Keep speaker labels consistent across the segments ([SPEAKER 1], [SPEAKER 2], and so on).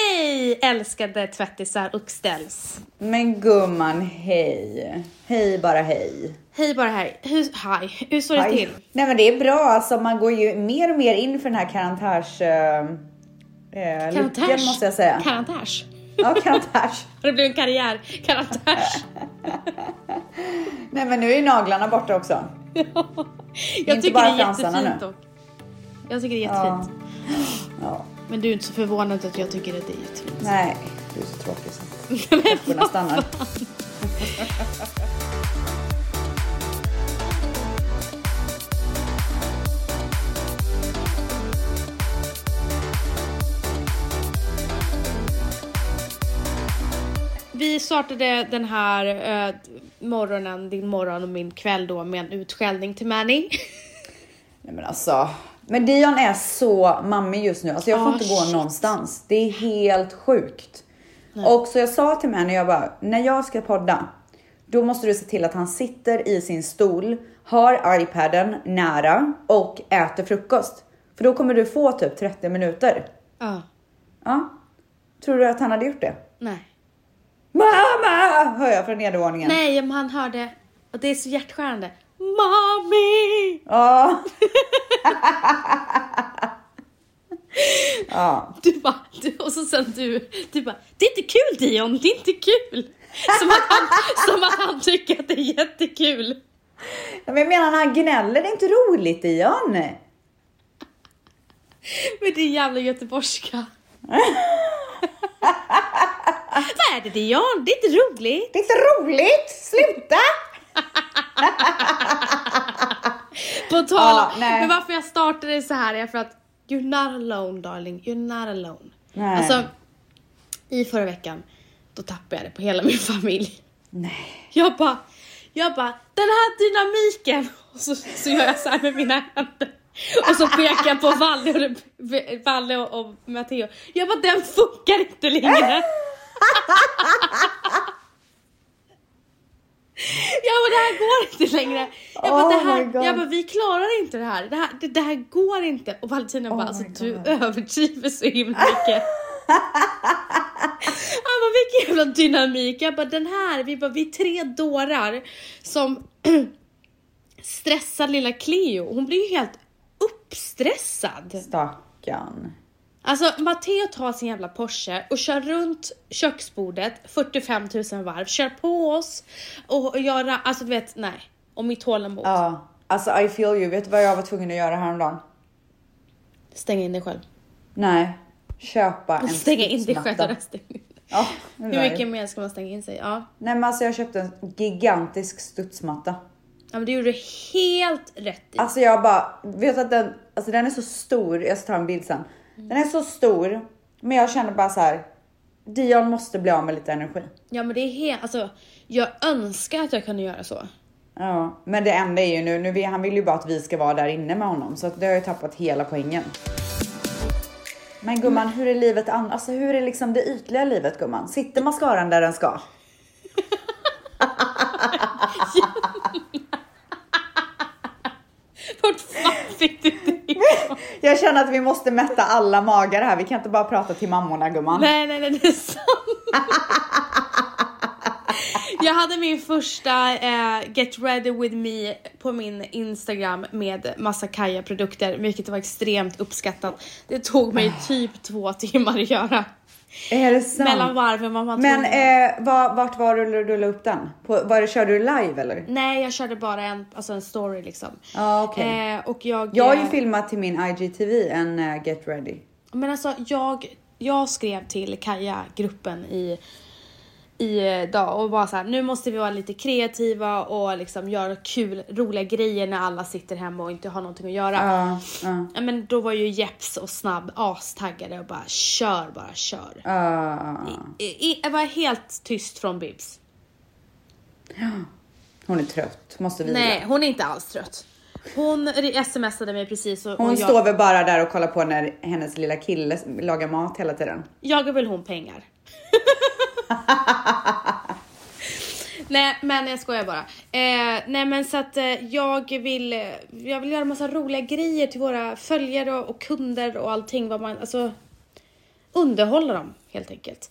[SPEAKER 1] vi älskade tvättisar och ställs.
[SPEAKER 2] Men gumman, hej. Hej bara hej.
[SPEAKER 1] Hej bara här. Hur, hi. Hur står det
[SPEAKER 2] Aj.
[SPEAKER 1] till?
[SPEAKER 2] Nej men det är bra, alltså man går ju mer och mer in för den här karantärs... Eh, eh, lyckan,
[SPEAKER 1] Karantärs.
[SPEAKER 2] måste jag säga.
[SPEAKER 1] Karantärs.
[SPEAKER 2] Ja, karantärs.
[SPEAKER 1] Har det blivit en karriär? Karantärs.
[SPEAKER 2] Nej men nu är ju naglarna borta också.
[SPEAKER 1] Jag
[SPEAKER 2] Inte
[SPEAKER 1] tycker
[SPEAKER 2] bara
[SPEAKER 1] det är
[SPEAKER 2] fransarna
[SPEAKER 1] jättefint
[SPEAKER 2] nu.
[SPEAKER 1] dock. Jag tycker det är
[SPEAKER 2] Ja.
[SPEAKER 1] jättefint.
[SPEAKER 2] Ja,
[SPEAKER 1] Men du är inte så förvånad att jag tycker att det är jättefint.
[SPEAKER 2] nej. Du är så tråkig så. Klockorna stannar.
[SPEAKER 1] Vi startade den här eh, morgonen, din morgon och min kväll då med en utskällning till Manny.
[SPEAKER 2] Nej men alltså. Men Dion är så mammig just nu. Alltså jag får
[SPEAKER 1] Ah,
[SPEAKER 2] inte gå
[SPEAKER 1] shit.
[SPEAKER 2] någonstans. Det är helt sjukt. Och så jag sa till henne, jag bara, när jag ska podda, då måste du se till att han sitter i sin stol, har iPaden nära och äter frukost. För då kommer du få typ 30 minuter.
[SPEAKER 1] Ja.
[SPEAKER 2] Ja. Tror du att han hade gjort det?
[SPEAKER 1] Nej.
[SPEAKER 2] Mamma! Hör jag från nedervåningen.
[SPEAKER 1] Nej, men han hörde, och det är så hjärtskärande. Mommy!
[SPEAKER 2] Ja. ja.
[SPEAKER 1] Du bara, du, och så sen du, du bara, det är inte kul Dion, det är inte kul. Som att han, som att han tycker att det är jättekul.
[SPEAKER 2] Ja, Men jag menar när han gnäller, det är inte roligt Dion.
[SPEAKER 1] Med din jävla göteborgska. Vad är det Dion? Det är inte roligt.
[SPEAKER 2] Det är inte roligt, sluta!
[SPEAKER 1] På tal
[SPEAKER 2] Ja,
[SPEAKER 1] om-
[SPEAKER 2] nej.
[SPEAKER 1] men varför jag startade så här är för att you're not alone darling, you're not alone.
[SPEAKER 2] Nej.
[SPEAKER 1] Alltså, i förra veckan, då tappade jag det på hela min familj.
[SPEAKER 2] Nej.
[SPEAKER 1] Jag bara, jag bara, den här dynamiken! Och så, så gör jag så här med mina händer. Och så pekar jag på Valle och, Valle och, och Matteo. Jag bara, den funkar inte längre! Jag bara, det här går inte längre. Jag bara,
[SPEAKER 2] Oh
[SPEAKER 1] det
[SPEAKER 2] my
[SPEAKER 1] här,
[SPEAKER 2] God.
[SPEAKER 1] jag bara vi klarar inte det här. Det här, det, det här går inte. Och Valentina bara,
[SPEAKER 2] Oh my
[SPEAKER 1] alltså
[SPEAKER 2] God.
[SPEAKER 1] du överdriver så himla mycket. Han bara, vilken jävla dynamik. Jag bara, den här, vi bara, vi är tre dårar som stressar lilla Cleo. Hon blir ju helt uppstressad.
[SPEAKER 2] Stackarn.
[SPEAKER 1] Alltså Matteo tar sin jävla Porsche och kör runt köksbordet 45 000 varv, kör på oss och gör, alltså du vet, nej. Och mitt tålamod.
[SPEAKER 2] Ja, alltså I feel you. Vet du vad jag var tvungen att göra häromdagen?
[SPEAKER 1] Stäng in dig själv.
[SPEAKER 2] Nej, köpa en
[SPEAKER 1] Stänga in dig själv.
[SPEAKER 2] studsmatta.
[SPEAKER 1] och stäng in.
[SPEAKER 2] Ja,
[SPEAKER 1] Hur
[SPEAKER 2] nej.
[SPEAKER 1] mycket mer ska man stänga in sig? Ja.
[SPEAKER 2] nej men alltså jag köpte en gigantisk studsmatta.
[SPEAKER 1] ja men det gjorde du helt rätt i.
[SPEAKER 2] Alltså jag bara, vet att den, alltså den är så stor, jag ska ta en bild sen. Den är så stor, men jag känner bara så här. Dion måste bli av med lite energi.
[SPEAKER 1] Ja men det är helt, alltså jag önskar att jag kunde göra så.
[SPEAKER 2] Ja, men det enda är ju nu, nu vill, han vill ju bara att vi ska vara där inne med honom så att det har ju tappat hela poängen. Men gumman, hur är livet annars? Alltså hur är liksom det ytliga livet gumman? Sitter mascaran där den ska?
[SPEAKER 1] Vart fan fick du det ifrån?
[SPEAKER 2] Jag känner att vi måste mätta alla magar här. Vi kan inte bara prata till mammorna gumman.
[SPEAKER 1] Nej, nej, nej, det är sant. Jag hade min första eh, Get ready with me på min Instagram med massa Kaja-produkter, vilket var extremt uppskattat. Det tog mig
[SPEAKER 2] Ah.
[SPEAKER 1] typ två timmar att göra.
[SPEAKER 2] Är det sant?
[SPEAKER 1] Mellan varven var man
[SPEAKER 2] Men
[SPEAKER 1] tvungen.
[SPEAKER 2] eh, var, vart var du när du la upp den? På, var det, körde du live eller?
[SPEAKER 1] Nej, jag körde bara en, alltså en story liksom.
[SPEAKER 2] Ja, okej.
[SPEAKER 1] eh, och jag...
[SPEAKER 2] Jag har ju
[SPEAKER 1] eh,
[SPEAKER 2] filmat till min IGTV en eh, Get Ready.
[SPEAKER 1] Men alltså jag, jag skrev till Kaja-gruppen i, i eh, dag och bara så här, nu måste vi vara lite kreativa och liksom göra kul, roliga grejer när alla sitter hemma och inte har någonting att göra.
[SPEAKER 2] Ja, ja,
[SPEAKER 1] Ja, Men då var ju Jeps och Snabb astaggade och bara kör bara kör.
[SPEAKER 2] ja. ja.
[SPEAKER 1] I, i, jag var helt tyst från Bibs.
[SPEAKER 2] Hon är trött, måste vila.
[SPEAKER 1] Nej, hon är inte alls trött. Hon re- smsade mig precis och,
[SPEAKER 2] Hon
[SPEAKER 1] och jag,
[SPEAKER 2] står väl bara där och kollar på när hennes lilla kille lagar mat hela tiden.
[SPEAKER 1] jagar väl hon pengar. nej men jag skojar bara. Eh, nej men så att eh, jag vill, eh, jag vill göra massa roliga grejer till våra följare och, och kunder och allting. Vad man, alltså, underhålla dem helt enkelt.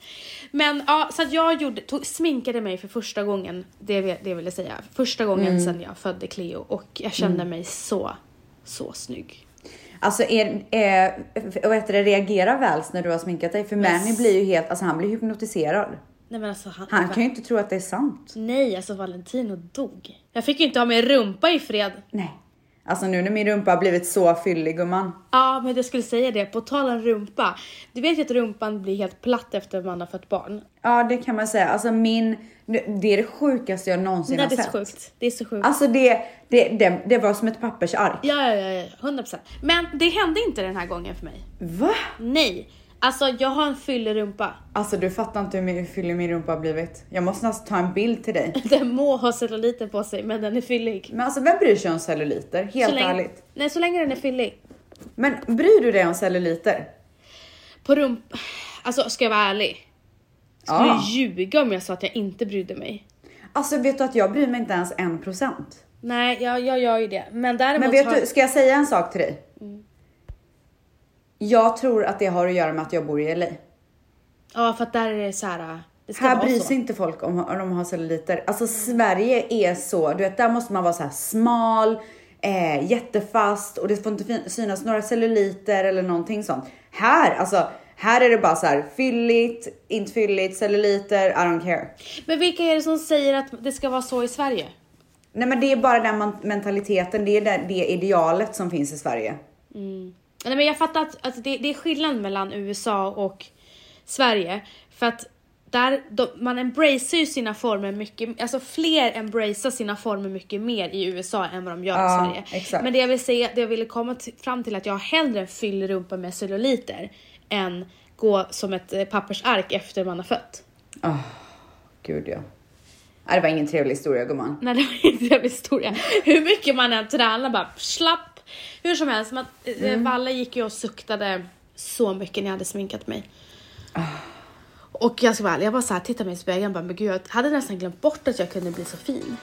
[SPEAKER 1] Men ja, så att jag gjorde, tog, sminkade mig för första gången, det, vill- det vill jag säga, första gången sedan jag födde Cleo och jag kände mig så, så snygg.
[SPEAKER 2] Alltså, är, är, vad heter det, reagerar Vals när du har sminkat dig? För Manny blir ju helt, alltså han blir hypnotiserad.
[SPEAKER 1] Nej men alltså han,
[SPEAKER 2] Han kan ju inte tro att det är sant.
[SPEAKER 1] Nej, alltså Valentino dog. Jag fick ju inte ha min rumpa i fred.
[SPEAKER 2] Nej. Alltså nu när min rumpa har blivit så fyllig gumman.
[SPEAKER 1] Ja, men jag skulle säga det. På tal om rumpa. Du vet ju att rumpan blir helt platt efter man har fött barn.
[SPEAKER 2] Ja det kan man säga. Alltså min, det är det sjukaste jag någonsin
[SPEAKER 1] Nej,
[SPEAKER 2] har
[SPEAKER 1] det är
[SPEAKER 2] sett.
[SPEAKER 1] så sjukt. Det är så sjukt.
[SPEAKER 2] Alltså det, det, det, det var som ett pappersark.
[SPEAKER 1] Ja, ja, ja, ja, 100%. Men det hände inte den här gången för mig.
[SPEAKER 2] Va?
[SPEAKER 1] Nej, alltså jag har en fyllig rumpa.
[SPEAKER 2] Alltså du fattar inte hur min- fyllig min rumpa har blivit. Jag måste nästan ta en bild till dig.
[SPEAKER 1] Den må ha celluliter på sig, men den är fyllig.
[SPEAKER 2] Men alltså vem bryr sig om celluliter? Helt
[SPEAKER 1] så länge,
[SPEAKER 2] ärligt.
[SPEAKER 1] Nej, så länge den är fyllig.
[SPEAKER 2] Men bryr du dig om celluliter?
[SPEAKER 1] På rump... Alltså, ska jag vara ärlig? Skulle
[SPEAKER 2] Ja.
[SPEAKER 1] ljuga om jag sa att jag inte brydde mig.
[SPEAKER 2] Alltså vet du att jag bryr mig inte ens en procent.
[SPEAKER 1] Nej, jag, jag gör ju det. Men däremot
[SPEAKER 2] Men vet
[SPEAKER 1] har... Mm.
[SPEAKER 2] du, ska jag säga en sak till dig? Jag tror att det har att göra med att jag bor i LA.
[SPEAKER 1] Ja, för att där är det så här. äh, Det ska
[SPEAKER 2] Här
[SPEAKER 1] vara
[SPEAKER 2] bryr
[SPEAKER 1] så.
[SPEAKER 2] sig inte folk om, om de har celluliter. Alltså Sverige är så, du vet där måste man vara så här smal, eh, jättefast och det får inte fin- synas några celluliter eller någonting sånt. Här, alltså här är det bara så här fylligt, inte fylligt, celluliter, I don't care.
[SPEAKER 1] Men vilka är det som säger att det ska vara så i Sverige?
[SPEAKER 2] Nej men det är bara den man- mentaliteten, det är det, det idealet som finns i Sverige. Mm.
[SPEAKER 1] Nej, men jag fattar att, att det, det är skillnad mellan USA och Sverige. För att där, de, man embracear ju sina former mycket, alltså fler embracear sina former mycket mer i USA än vad de gör
[SPEAKER 2] Ja,
[SPEAKER 1] i Sverige.
[SPEAKER 2] exakt.
[SPEAKER 1] Men det jag vill säga, det jag ville komma till, fram till är att jag hellre fyller rumpa med celluliter än gå som ett eh, pappersark efter man har fött.
[SPEAKER 2] Åh, gud ja. Nej, Det var ingen trevlig historia gumman.
[SPEAKER 1] Nej, det var inte en jävla historia. Hur mycket man än tränar bara slapp. Hur som helst, man, mm. Valle gick ju och suktade så mycket när jag hade sminkat mig. Och jag ska vara ärlig, jag bara så här tittade mig i spegeln och bara, men gud jag hade nästan glömt bort att jag kunde bli så fin.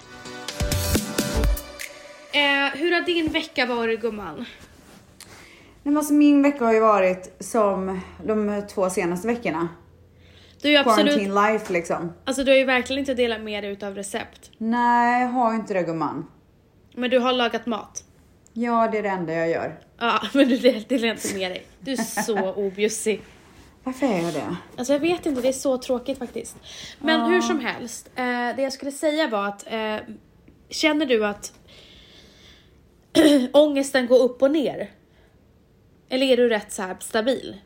[SPEAKER 1] Eh, hur har din vecka varit gumman?
[SPEAKER 2] Nej, men alltså, min vecka har ju varit som de två senaste veckorna.
[SPEAKER 1] Du är ju absolut,
[SPEAKER 2] Quarantine life liksom.
[SPEAKER 1] alltså du har ju verkligen inte delat med dig utav recept.
[SPEAKER 2] Nej, jag har ju inte det gumman.
[SPEAKER 1] Men du har lagat mat.
[SPEAKER 2] Ja, det är det enda jag gör.
[SPEAKER 1] Ja, men du del- delar inte med dig. Du är så objussig.
[SPEAKER 2] Varför är jag det?
[SPEAKER 1] Alltså jag vet inte, det är så tråkigt faktiskt. Men hur som helst, eh, det jag skulle säga var att eh, känner du att ångesten går upp och ner? Eller är du rätt så här stabil?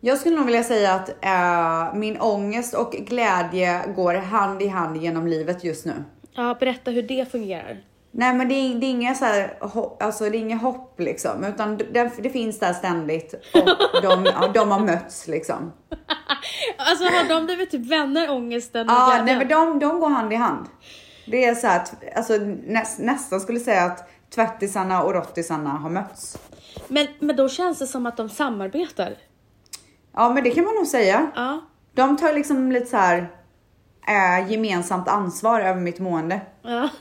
[SPEAKER 2] Jag skulle nog vilja säga att eh, min ångest och glädje går hand i hand genom livet just nu.
[SPEAKER 1] Ja, berätta hur det fungerar.
[SPEAKER 2] Nej, men det är, det är inga så här, ho- alltså det är inga hopp liksom, utan det, det finns där ständigt och de, ja, de har mötts liksom.
[SPEAKER 1] Alltså har de blivit typ vänner, ångesten och
[SPEAKER 2] Ja, Ah, nej,
[SPEAKER 1] glädjen?
[SPEAKER 2] men de, de går hand i hand. Det är så här, t- alltså näs, nästan skulle säga att tvättisarna och rottisarna har mötts.
[SPEAKER 1] men, men då känns det som att de samarbetar.
[SPEAKER 2] Ja, men det kan man nog säga.
[SPEAKER 1] Ja.
[SPEAKER 2] De tar liksom lite så här eh, gemensamt ansvar över mitt mående.
[SPEAKER 1] ja.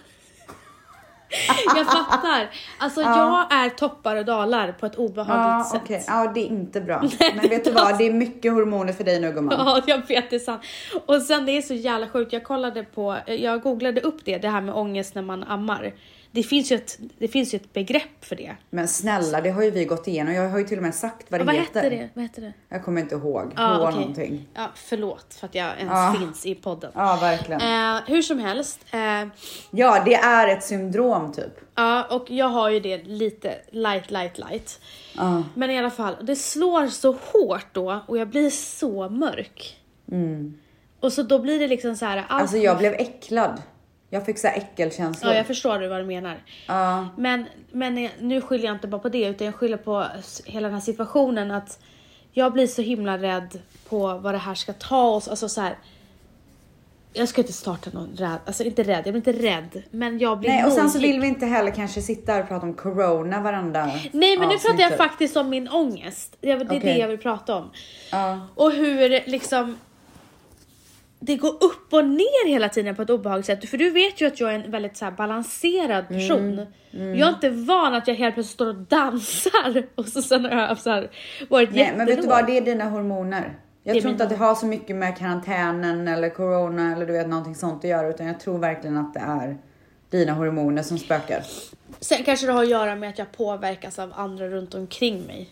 [SPEAKER 1] jag fattar. Alltså jag är toppar och dalar på ett obehagligt
[SPEAKER 2] Ja,
[SPEAKER 1] sätt.
[SPEAKER 2] Ah, okej. Ja, det är inte bra. Men vet du vad? Det är mycket hormoner för dig nu gumman.
[SPEAKER 1] Ja, jag vet det är sant. Och sen det är så jävla sjukt. Jag kollade på, jag googlade upp det, det här med ångest när man ammar. Det finns ju ett, det finns ju ett begrepp för det.
[SPEAKER 2] Men snälla, det har ju vi gått igenom. Jag har ju till och med sagt vad det
[SPEAKER 1] Vad
[SPEAKER 2] heter.
[SPEAKER 1] hette det? Vad heter det?
[SPEAKER 2] Jag kommer inte ihåg.
[SPEAKER 1] Ja,
[SPEAKER 2] H
[SPEAKER 1] Ah, okej.
[SPEAKER 2] någonting.
[SPEAKER 1] Ja, förlåt för att jag ens
[SPEAKER 2] Ja.
[SPEAKER 1] finns i podden.
[SPEAKER 2] Ja, verkligen.
[SPEAKER 1] Eh, hur som helst. eh,
[SPEAKER 2] Ja, det är ett syndrom typ.
[SPEAKER 1] Ja, och jag har ju det lite light, light, light.
[SPEAKER 2] Ja.
[SPEAKER 1] Men i alla fall, det slår så hårt då och jag blir så mörk. Och så då blir det liksom så här, allt
[SPEAKER 2] Mm. Alltså jag blev äcklad. Jag fick så här äckelkänslor.
[SPEAKER 1] Ja, jag förstår vad du menar.
[SPEAKER 2] Ja.
[SPEAKER 1] Men, men nu skyller jag inte bara på det, utan jag skyller på s- hela den här situationen att jag blir så himla rädd på vad det här ska ta oss. Alltså så här. Jag ska inte starta någon rädd, alltså inte rädd, jag blir inte rädd, men jag blir
[SPEAKER 2] Nej, och sen så
[SPEAKER 1] nojig.
[SPEAKER 2] vill vi inte heller kanske sitta här och prata om corona varenda
[SPEAKER 1] Nej men nu
[SPEAKER 2] avsnitt,
[SPEAKER 1] pratar jag
[SPEAKER 2] typ.
[SPEAKER 1] faktiskt om min ångest. Det är det
[SPEAKER 2] Okej.
[SPEAKER 1] jag vill prata om.
[SPEAKER 2] Ja.
[SPEAKER 1] Och hur liksom det går upp och ner hela tiden på ett obehagligt sätt. För du vet ju att jag är en väldigt så här balanserad
[SPEAKER 2] Mm,
[SPEAKER 1] person. Jag är inte van att jag helt plötsligt står och dansar och så sen har jag så här varit
[SPEAKER 2] Nej, men vet du
[SPEAKER 1] jättelåg.
[SPEAKER 2] vad? Det är dina hormoner. Jag
[SPEAKER 1] Det är
[SPEAKER 2] tror
[SPEAKER 1] mina
[SPEAKER 2] inte att det har så mycket med karantänen eller corona eller du vet någonting sånt att göra utan jag tror verkligen att det är dina hormoner som spökar.
[SPEAKER 1] Sen kanske det har att göra med att jag påverkas av andra runt omkring mig.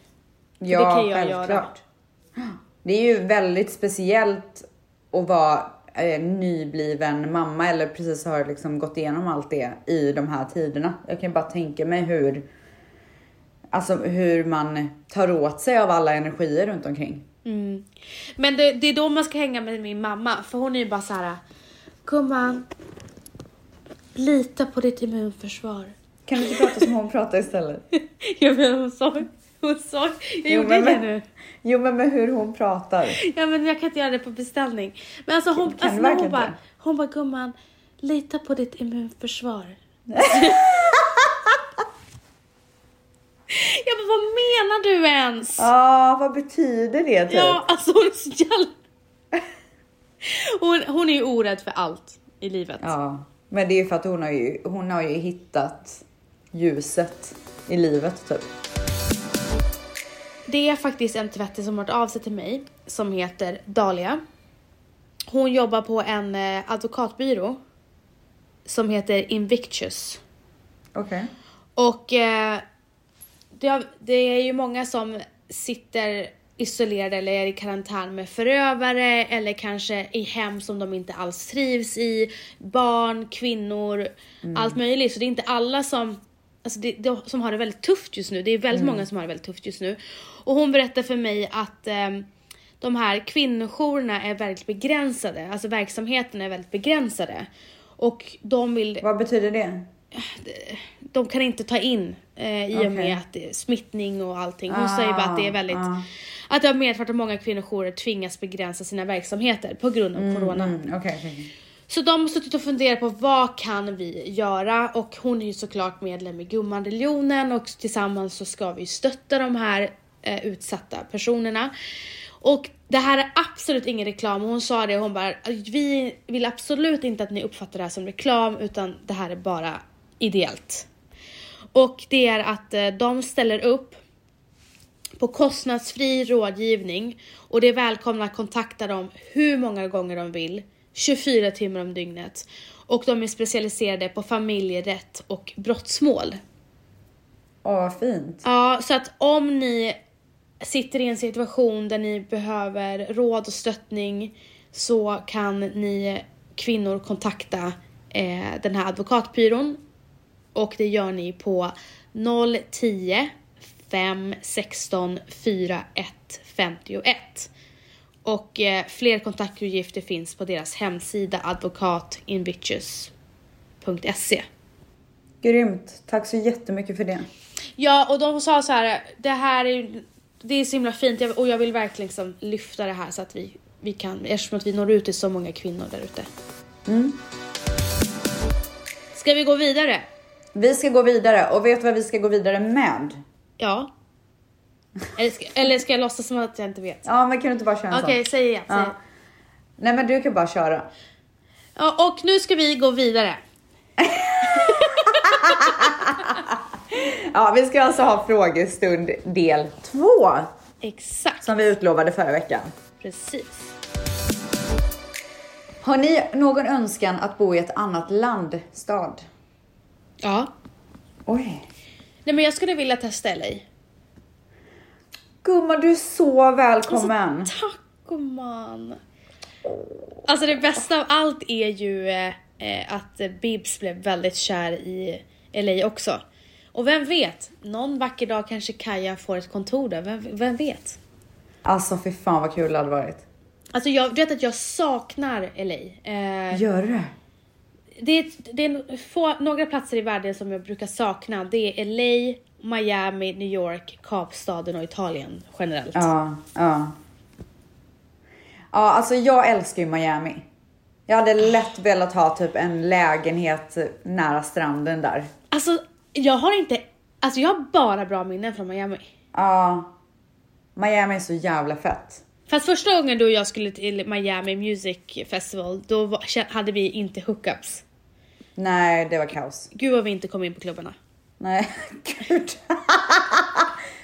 [SPEAKER 2] Ja,
[SPEAKER 1] det kan jag
[SPEAKER 2] självklart.
[SPEAKER 1] göra.
[SPEAKER 2] Det är ju väldigt speciellt att vara eh, nybliven mamma eller precis har liksom gått igenom allt det i de här tiderna. Jag kan bara tänka mig hur, alltså hur man tar åt sig av alla energier runt omkring.
[SPEAKER 1] Mm. Men det, det är då man ska hänga med min mamma, för hon är ju bara så här. Gumman, lita på ditt immunförsvar.
[SPEAKER 2] Kan du inte prata som hon pratar istället?
[SPEAKER 1] Ja men hon sa, hon sa, jag
[SPEAKER 2] Jo,
[SPEAKER 1] gjorde
[SPEAKER 2] men-
[SPEAKER 1] det nu.
[SPEAKER 2] Jo men med hur hon pratar.
[SPEAKER 1] Ja men jag kan inte göra det på beställning. Men alltså hon,
[SPEAKER 2] Kan- kan
[SPEAKER 1] alltså,
[SPEAKER 2] du
[SPEAKER 1] när hon
[SPEAKER 2] verkligen
[SPEAKER 1] bara,
[SPEAKER 2] inte?
[SPEAKER 1] hon bara gumman, lita på ditt immunförsvar. jag bara, vad menar du ens?
[SPEAKER 2] Ja, vad betyder det typ?
[SPEAKER 1] Ja, alltså hon är så jävla... Hon, hon är ju orädd för allt i livet.
[SPEAKER 2] Ja, men det är ju för att hon har ju, hon har ju hittat ljuset i livet typ.
[SPEAKER 1] Det är faktiskt en tvättis som har hört av sig till mig som heter Dahlia. Hon jobbar på en eh, advokatbyrå som heter Invictus.
[SPEAKER 2] Okej.
[SPEAKER 1] Och eh, det, har, det är ju många som sitter isolerade eller är i karantän med förövare eller kanske i hem som de inte alls trivs i. Barn, kvinnor, allt möjligt. Så det är inte alla som, alltså det, det, som har det väldigt tufft just nu. Det är väldigt många som har det väldigt tufft just nu. Och hon berättar för mig att ehm, de här kvinnojourerna är väldigt begränsade. Alltså verksamheten är väldigt begränsade. Och de vill
[SPEAKER 2] Vad betyder det?
[SPEAKER 1] de kan inte ta in eh, i och
[SPEAKER 2] Okej.
[SPEAKER 1] med att det är smittning och allting. Hon
[SPEAKER 2] Ah,
[SPEAKER 1] säger bara att det är väldigt,
[SPEAKER 2] ah.
[SPEAKER 1] att det har medfört att många kvinnojourer tvingas begränsa sina verksamheter på grund av corona.
[SPEAKER 2] Mm, Okej, okej, okej.
[SPEAKER 1] Så de har suttit och funderat på vad kan vi göra och hon är ju såklart medlem i Gummanreligionen och tillsammans så ska vi stötta de här eh, utsatta personerna. Och det här är absolut ingen reklam och hon sa det, hon bara vi vill absolut inte att ni uppfattar det här som reklam utan det här är bara ideellt. Och det är att eh, de ställer upp på kostnadsfri rådgivning och det är välkomna att kontakta dem hur många gånger de vill, 24 timmar om dygnet. Och de är specialiserade på familjerätt och brottsmål.
[SPEAKER 2] Åh, vad fint.
[SPEAKER 1] Ja, så att om ni sitter i en situation där ni behöver råd och stöttning så kan ni kvinnor kontakta eh, den här advokatbyrån och det gör ni på 010 516 4151. Och eh, fler kontaktuppgifter finns på deras hemsida advokatinvictus.se.
[SPEAKER 2] Grymt. Tack så jättemycket för det.
[SPEAKER 1] Ja, och de sa så här, det här är ju- det är så himla fint jag- och jag vill verkligen liksom lyfta det här så att vi, vi kan, eftersom att vi når ut till så många kvinnor där ute.
[SPEAKER 2] Mm.
[SPEAKER 1] Ska vi gå vidare?
[SPEAKER 2] Vi ska gå vidare och vet du vad vi ska gå vidare med?
[SPEAKER 1] Ja. Eller ska, eller ska jag låtsas som att jag inte vet?
[SPEAKER 2] Ja, men kan du inte bara köra en
[SPEAKER 1] Okej,
[SPEAKER 2] sån?
[SPEAKER 1] säg igen. Säg.
[SPEAKER 2] Ja. Nej, men du kan bara köra.
[SPEAKER 1] Ja, och nu ska vi gå vidare.
[SPEAKER 2] Ja, vi ska alltså ha frågestund del två
[SPEAKER 1] Exakt,
[SPEAKER 2] som vi utlovade förra veckan.
[SPEAKER 1] precis.
[SPEAKER 2] Har ni någon önskan att bo i ett annat land, stad?
[SPEAKER 1] Ja.
[SPEAKER 2] Oj.
[SPEAKER 1] Nej men jag skulle vilja testa LA.
[SPEAKER 2] Gumman, du är så välkommen.
[SPEAKER 1] Tack gumman. Alltså det bästa av allt är ju eh, eh, att eh, Bibs blev väldigt kär i LA också. Och vem vet, någon vacker dag kanske Kaja får ett kontor där, vem, vem vet?
[SPEAKER 2] Alltså fy fan vad kul det hade varit.
[SPEAKER 1] Alltså jag du vet att jag saknar LA. Eh,
[SPEAKER 2] Gör du det?
[SPEAKER 1] det är, det är få, några platser i världen som jag brukar sakna. Det är LA, Miami, New York, Kapstaden och Italien generellt.
[SPEAKER 2] Ja, ja. Ja, alltså jag älskar ju Miami. Jag hade lätt velat ha typ en lägenhet nära stranden där.
[SPEAKER 1] Alltså jag har inte, alltså jag har bara bra minnen från Miami.
[SPEAKER 2] Ja. Miami är så jävla fett.
[SPEAKER 1] För att första gången du och jag skulle till Miami Music Festival, då var, kä- hade vi inte hookups.
[SPEAKER 2] Nej, det var kaos.
[SPEAKER 1] Gud vad vi inte kom in på klubbarna.
[SPEAKER 2] Nej, gud.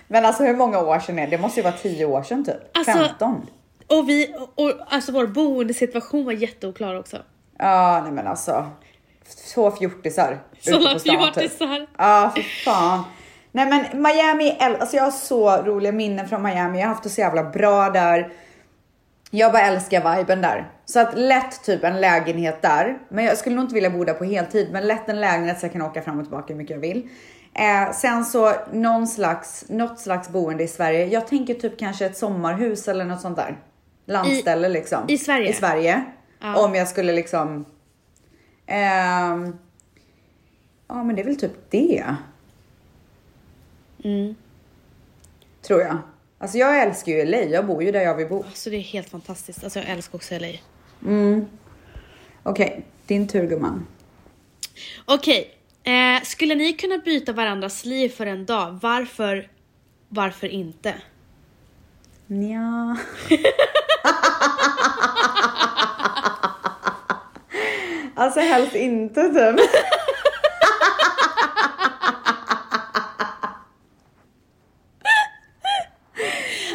[SPEAKER 2] Men alltså hur många år sedan är det? Det måste ju vara 10 år sedan typ.
[SPEAKER 1] Alltså-
[SPEAKER 2] 15?
[SPEAKER 1] Och vi, och, alltså vår boendesituation var jätteoklar också.
[SPEAKER 2] Ja, nej men alltså. Så fjortisar. ute
[SPEAKER 1] Sådana
[SPEAKER 2] på stan, typ.
[SPEAKER 1] fjortisar.
[SPEAKER 2] Ja, för fan. Nej men Miami, äl- alltså jag har så roliga minnen från Miami. Jag har haft det så jävla bra där. Jag bara älskar viben där. Så att lätt typ en lägenhet där. Men jag skulle nog inte vilja bo där på heltid, men lätt en lägenhet så jag kan åka fram och tillbaka hur mycket jag vill. Eh, sen så någon slags, något slags boende i Sverige. Jag tänker typ kanske ett sommarhus eller något sånt där. Landställe liksom.
[SPEAKER 1] i Sverige?
[SPEAKER 2] I Sverige.
[SPEAKER 1] Ja.
[SPEAKER 2] Om jag skulle liksom... ehm, Ja, men det är väl typ det.
[SPEAKER 1] Mm.
[SPEAKER 2] Tror jag. Alltså jag älskar ju LA, jag bor ju där jag vill bo.
[SPEAKER 1] Alltså det är helt fantastiskt. Alltså jag älskar också LA.
[SPEAKER 2] Okej, din tur gumman.
[SPEAKER 1] Okej, eh, skulle ni kunna byta varandras liv för en dag? Varför, varför inte?
[SPEAKER 2] Nja. alltså helst inte typ.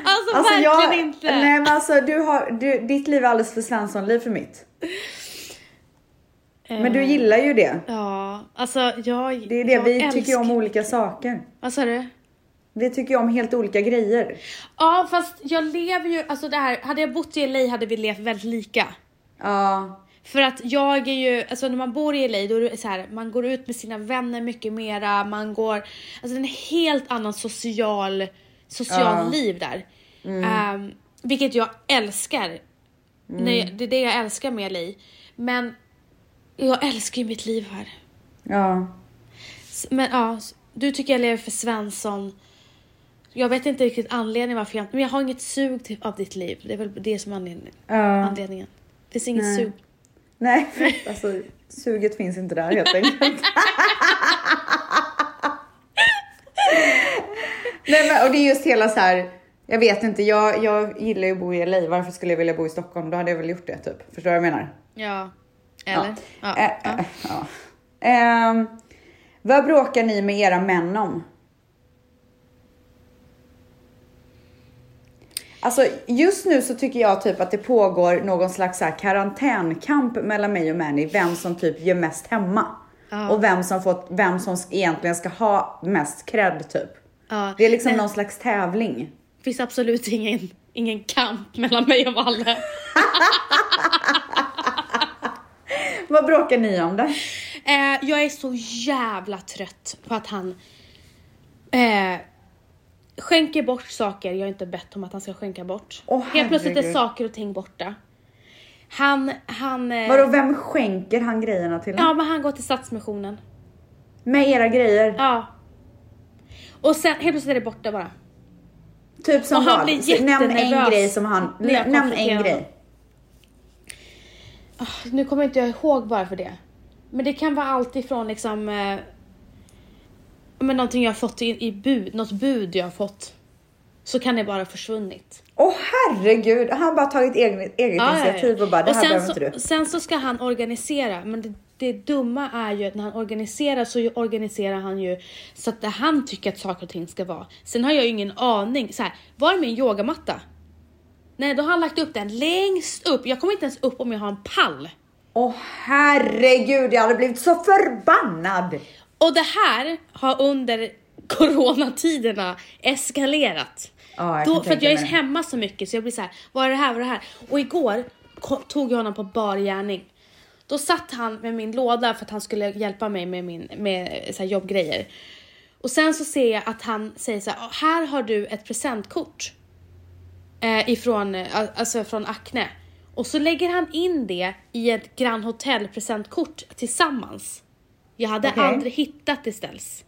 [SPEAKER 1] Alltså,
[SPEAKER 2] Alltså,
[SPEAKER 1] verkligen
[SPEAKER 2] jag,
[SPEAKER 1] inte!
[SPEAKER 2] Nej men alltså du har, du, ditt liv är alldeles för Svenssonliv för mitt. Men du gillar ju det.
[SPEAKER 1] Ja, alltså jag
[SPEAKER 2] Det är det,
[SPEAKER 1] Eh. jag
[SPEAKER 2] vi tycker ju om
[SPEAKER 1] älskar-
[SPEAKER 2] olika saker.
[SPEAKER 1] Vad sa du?
[SPEAKER 2] Vi tycker ju om helt olika grejer.
[SPEAKER 1] Ja fast jag lever ju, alltså det här, hade jag bott i LA hade vi levt väldigt lika.
[SPEAKER 2] Ja.
[SPEAKER 1] För att jag är ju, alltså när man bor i LA då är det så här, man går ut med sina vänner mycket mera, man går, alltså det är en helt annan social, social
[SPEAKER 2] Ja. Mm.
[SPEAKER 1] liv där. Ehm, vilket jag älskar. Nej, det är det jag älskar med LA. Men jag älskar ju mitt liv här.
[SPEAKER 2] Ja.
[SPEAKER 1] S- Men ja, s- du tycker jag lever för Svensson. Jag vet inte riktigt anledningen varför jag Men jag har inget sug till, av ditt liv. Det är väl det som är anledningen.
[SPEAKER 2] Ja.
[SPEAKER 1] anledningen. Det finns inget
[SPEAKER 2] Nej.
[SPEAKER 1] sug.
[SPEAKER 2] Nej, för- alltså suget finns inte där helt enkelt. Nej, men, och det är just hela så här. Jag vet inte, jag, jag gillar ju att bo i LA. Varför skulle jag vilja bo i Stockholm? Då hade jag väl gjort det typ. Förstår du vad jag menar?
[SPEAKER 1] Ja. Eller? Ja.
[SPEAKER 2] Eh,
[SPEAKER 1] ja.
[SPEAKER 2] eh, ja. Ehm, vad bråkar ni med era män om? Alltså just nu så tycker jag typ att det pågår någon slags så här karantänkamp mellan mig och Manny, vem som typ gör mest hemma.
[SPEAKER 1] Ja.
[SPEAKER 2] Och vem som, fått, vem som egentligen ska ha mest cred typ.
[SPEAKER 1] Ja.
[SPEAKER 2] Det är liksom
[SPEAKER 1] Nej,
[SPEAKER 2] någon slags tävling.
[SPEAKER 1] det finns absolut ingen, ingen kamp mellan mig och Valle.
[SPEAKER 2] Vad bråkar ni om det?
[SPEAKER 1] Eh, jag är så jävla trött på att han eh, skänker bort saker jag inte bett om att han ska skänka bort.
[SPEAKER 2] Åh,
[SPEAKER 1] Helt plötsligt är
[SPEAKER 2] herregud.
[SPEAKER 1] saker och ting borta. Han, han... eh,
[SPEAKER 2] Vadå, vem skänker han grejerna till?
[SPEAKER 1] Ja, men han går till Stadsmissionen.
[SPEAKER 2] Med era grejer?
[SPEAKER 1] Ja. Och sen helt plötsligt är det borta bara.
[SPEAKER 2] Typ som
[SPEAKER 1] Och han
[SPEAKER 2] vad?
[SPEAKER 1] blir
[SPEAKER 2] Så Nämn en
[SPEAKER 1] jättenervös
[SPEAKER 2] grej som han...
[SPEAKER 1] när jag
[SPEAKER 2] Nämn
[SPEAKER 1] konfronterar
[SPEAKER 2] en
[SPEAKER 1] honom.
[SPEAKER 2] grej.
[SPEAKER 1] Nu kommer inte jag ihåg bara för det. Men det kan vara allt ifrån liksom... Eh, men någonting jag har fått i, i bud, något bud jag har fått. Så kan det bara ha försvunnit. Ah,
[SPEAKER 2] Åh herregud, han har bara tagit eget, eget
[SPEAKER 1] Ja, ja, ja.
[SPEAKER 2] initiativ och bara det här
[SPEAKER 1] sen
[SPEAKER 2] behöver
[SPEAKER 1] så,
[SPEAKER 2] inte du.
[SPEAKER 1] Sen så ska han organisera, men det, det dumma är ju att när han organiserar så ju- organiserar han ju så att det han tycker att saker och ting ska vara. Sen har jag ju ingen aning. Så här, var är min yogamatta? Nej, då har han lagt upp den längst upp. Jag kommer inte ens upp om jag har en pall.
[SPEAKER 2] Åh herregud, jag hade blivit så förbannad.
[SPEAKER 1] Och det här har under coronatiderna eskalerat.
[SPEAKER 2] Ja, jag
[SPEAKER 1] Då,
[SPEAKER 2] kan
[SPEAKER 1] för att
[SPEAKER 2] tänka
[SPEAKER 1] jag är
[SPEAKER 2] mig det.
[SPEAKER 1] hemma så mycket så jag blir så här, vad är det här, vad är det här? Och igår ko- tog jag honom på bar gärning. Då satt han med min låda för att han skulle hjälpa mig med, min, med så här jobbgrejer. Och sen så ser jag att han säger så här, "Ah, här har du ett presentkort. Eh, ifrån, eh, al- alltså från Acne. Och så lägger han in det i ett Grand Hotel presentkort tillsammans. Jag hade
[SPEAKER 2] Okej.
[SPEAKER 1] aldrig hittat det ställs.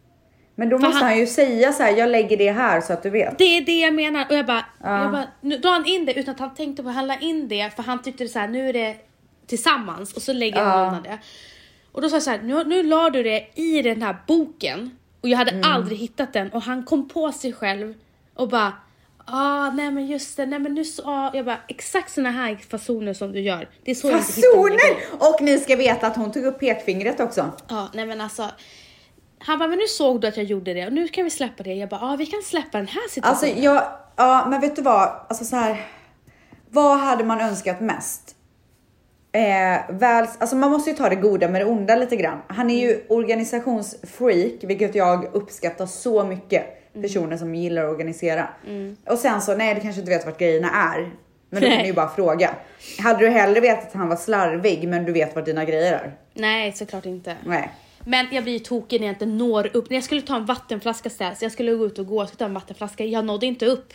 [SPEAKER 2] Men då måste
[SPEAKER 1] han-
[SPEAKER 2] han... ju säga så här, jag lägger det här så att du vet.
[SPEAKER 1] Det är det jag menar och jag bara, jag bara nu drar han in det utan att han tänkte på att handla in det för han tyckte det så här, nu är det tillsammans och så lägger han undan det. Och då sa jag så här, nu, nu la du det i den
[SPEAKER 2] Mm.
[SPEAKER 1] här boken och jag hade aldrig hittat den och han kom på sig själv och bara, ah, nej men just det, nej men nu så, ah, jag bara exakt såna här fasoner som du gör. Det är så jag inte hittar mina
[SPEAKER 2] Fasoner! Och ni ska veta att hon tog upp pekfingret också.
[SPEAKER 1] Ja, nej men alltså. Han bara, men nu såg du att jag gjorde det och nu kan vi släppa det. Jag bara, ja ah, vi kan släppa den här situationen.
[SPEAKER 2] Alltså jag, ja men vet du vad, alltså så här. Vad hade man önskat mest? Eh, väl, alltså man måste ju ta det goda med det onda lite grann. Han är ju organisationsfreak, vilket jag uppskattar så mycket. Personer som gillar att organisera. Och sen så, nej du kanske inte vet vart grejerna är. Men då kan du
[SPEAKER 1] Nej.
[SPEAKER 2] ju bara fråga. Hade du hellre vetat att han var slarvig men du vet vart dina grejer är?
[SPEAKER 1] Nej, såklart inte.
[SPEAKER 2] Nej.
[SPEAKER 1] Men jag blir ju tokig när jag inte når upp. När jag skulle ta en vattenflaska ställs, jag skulle gå ut och gå, jag skulle ta en vattenflaska, jag nådde inte upp.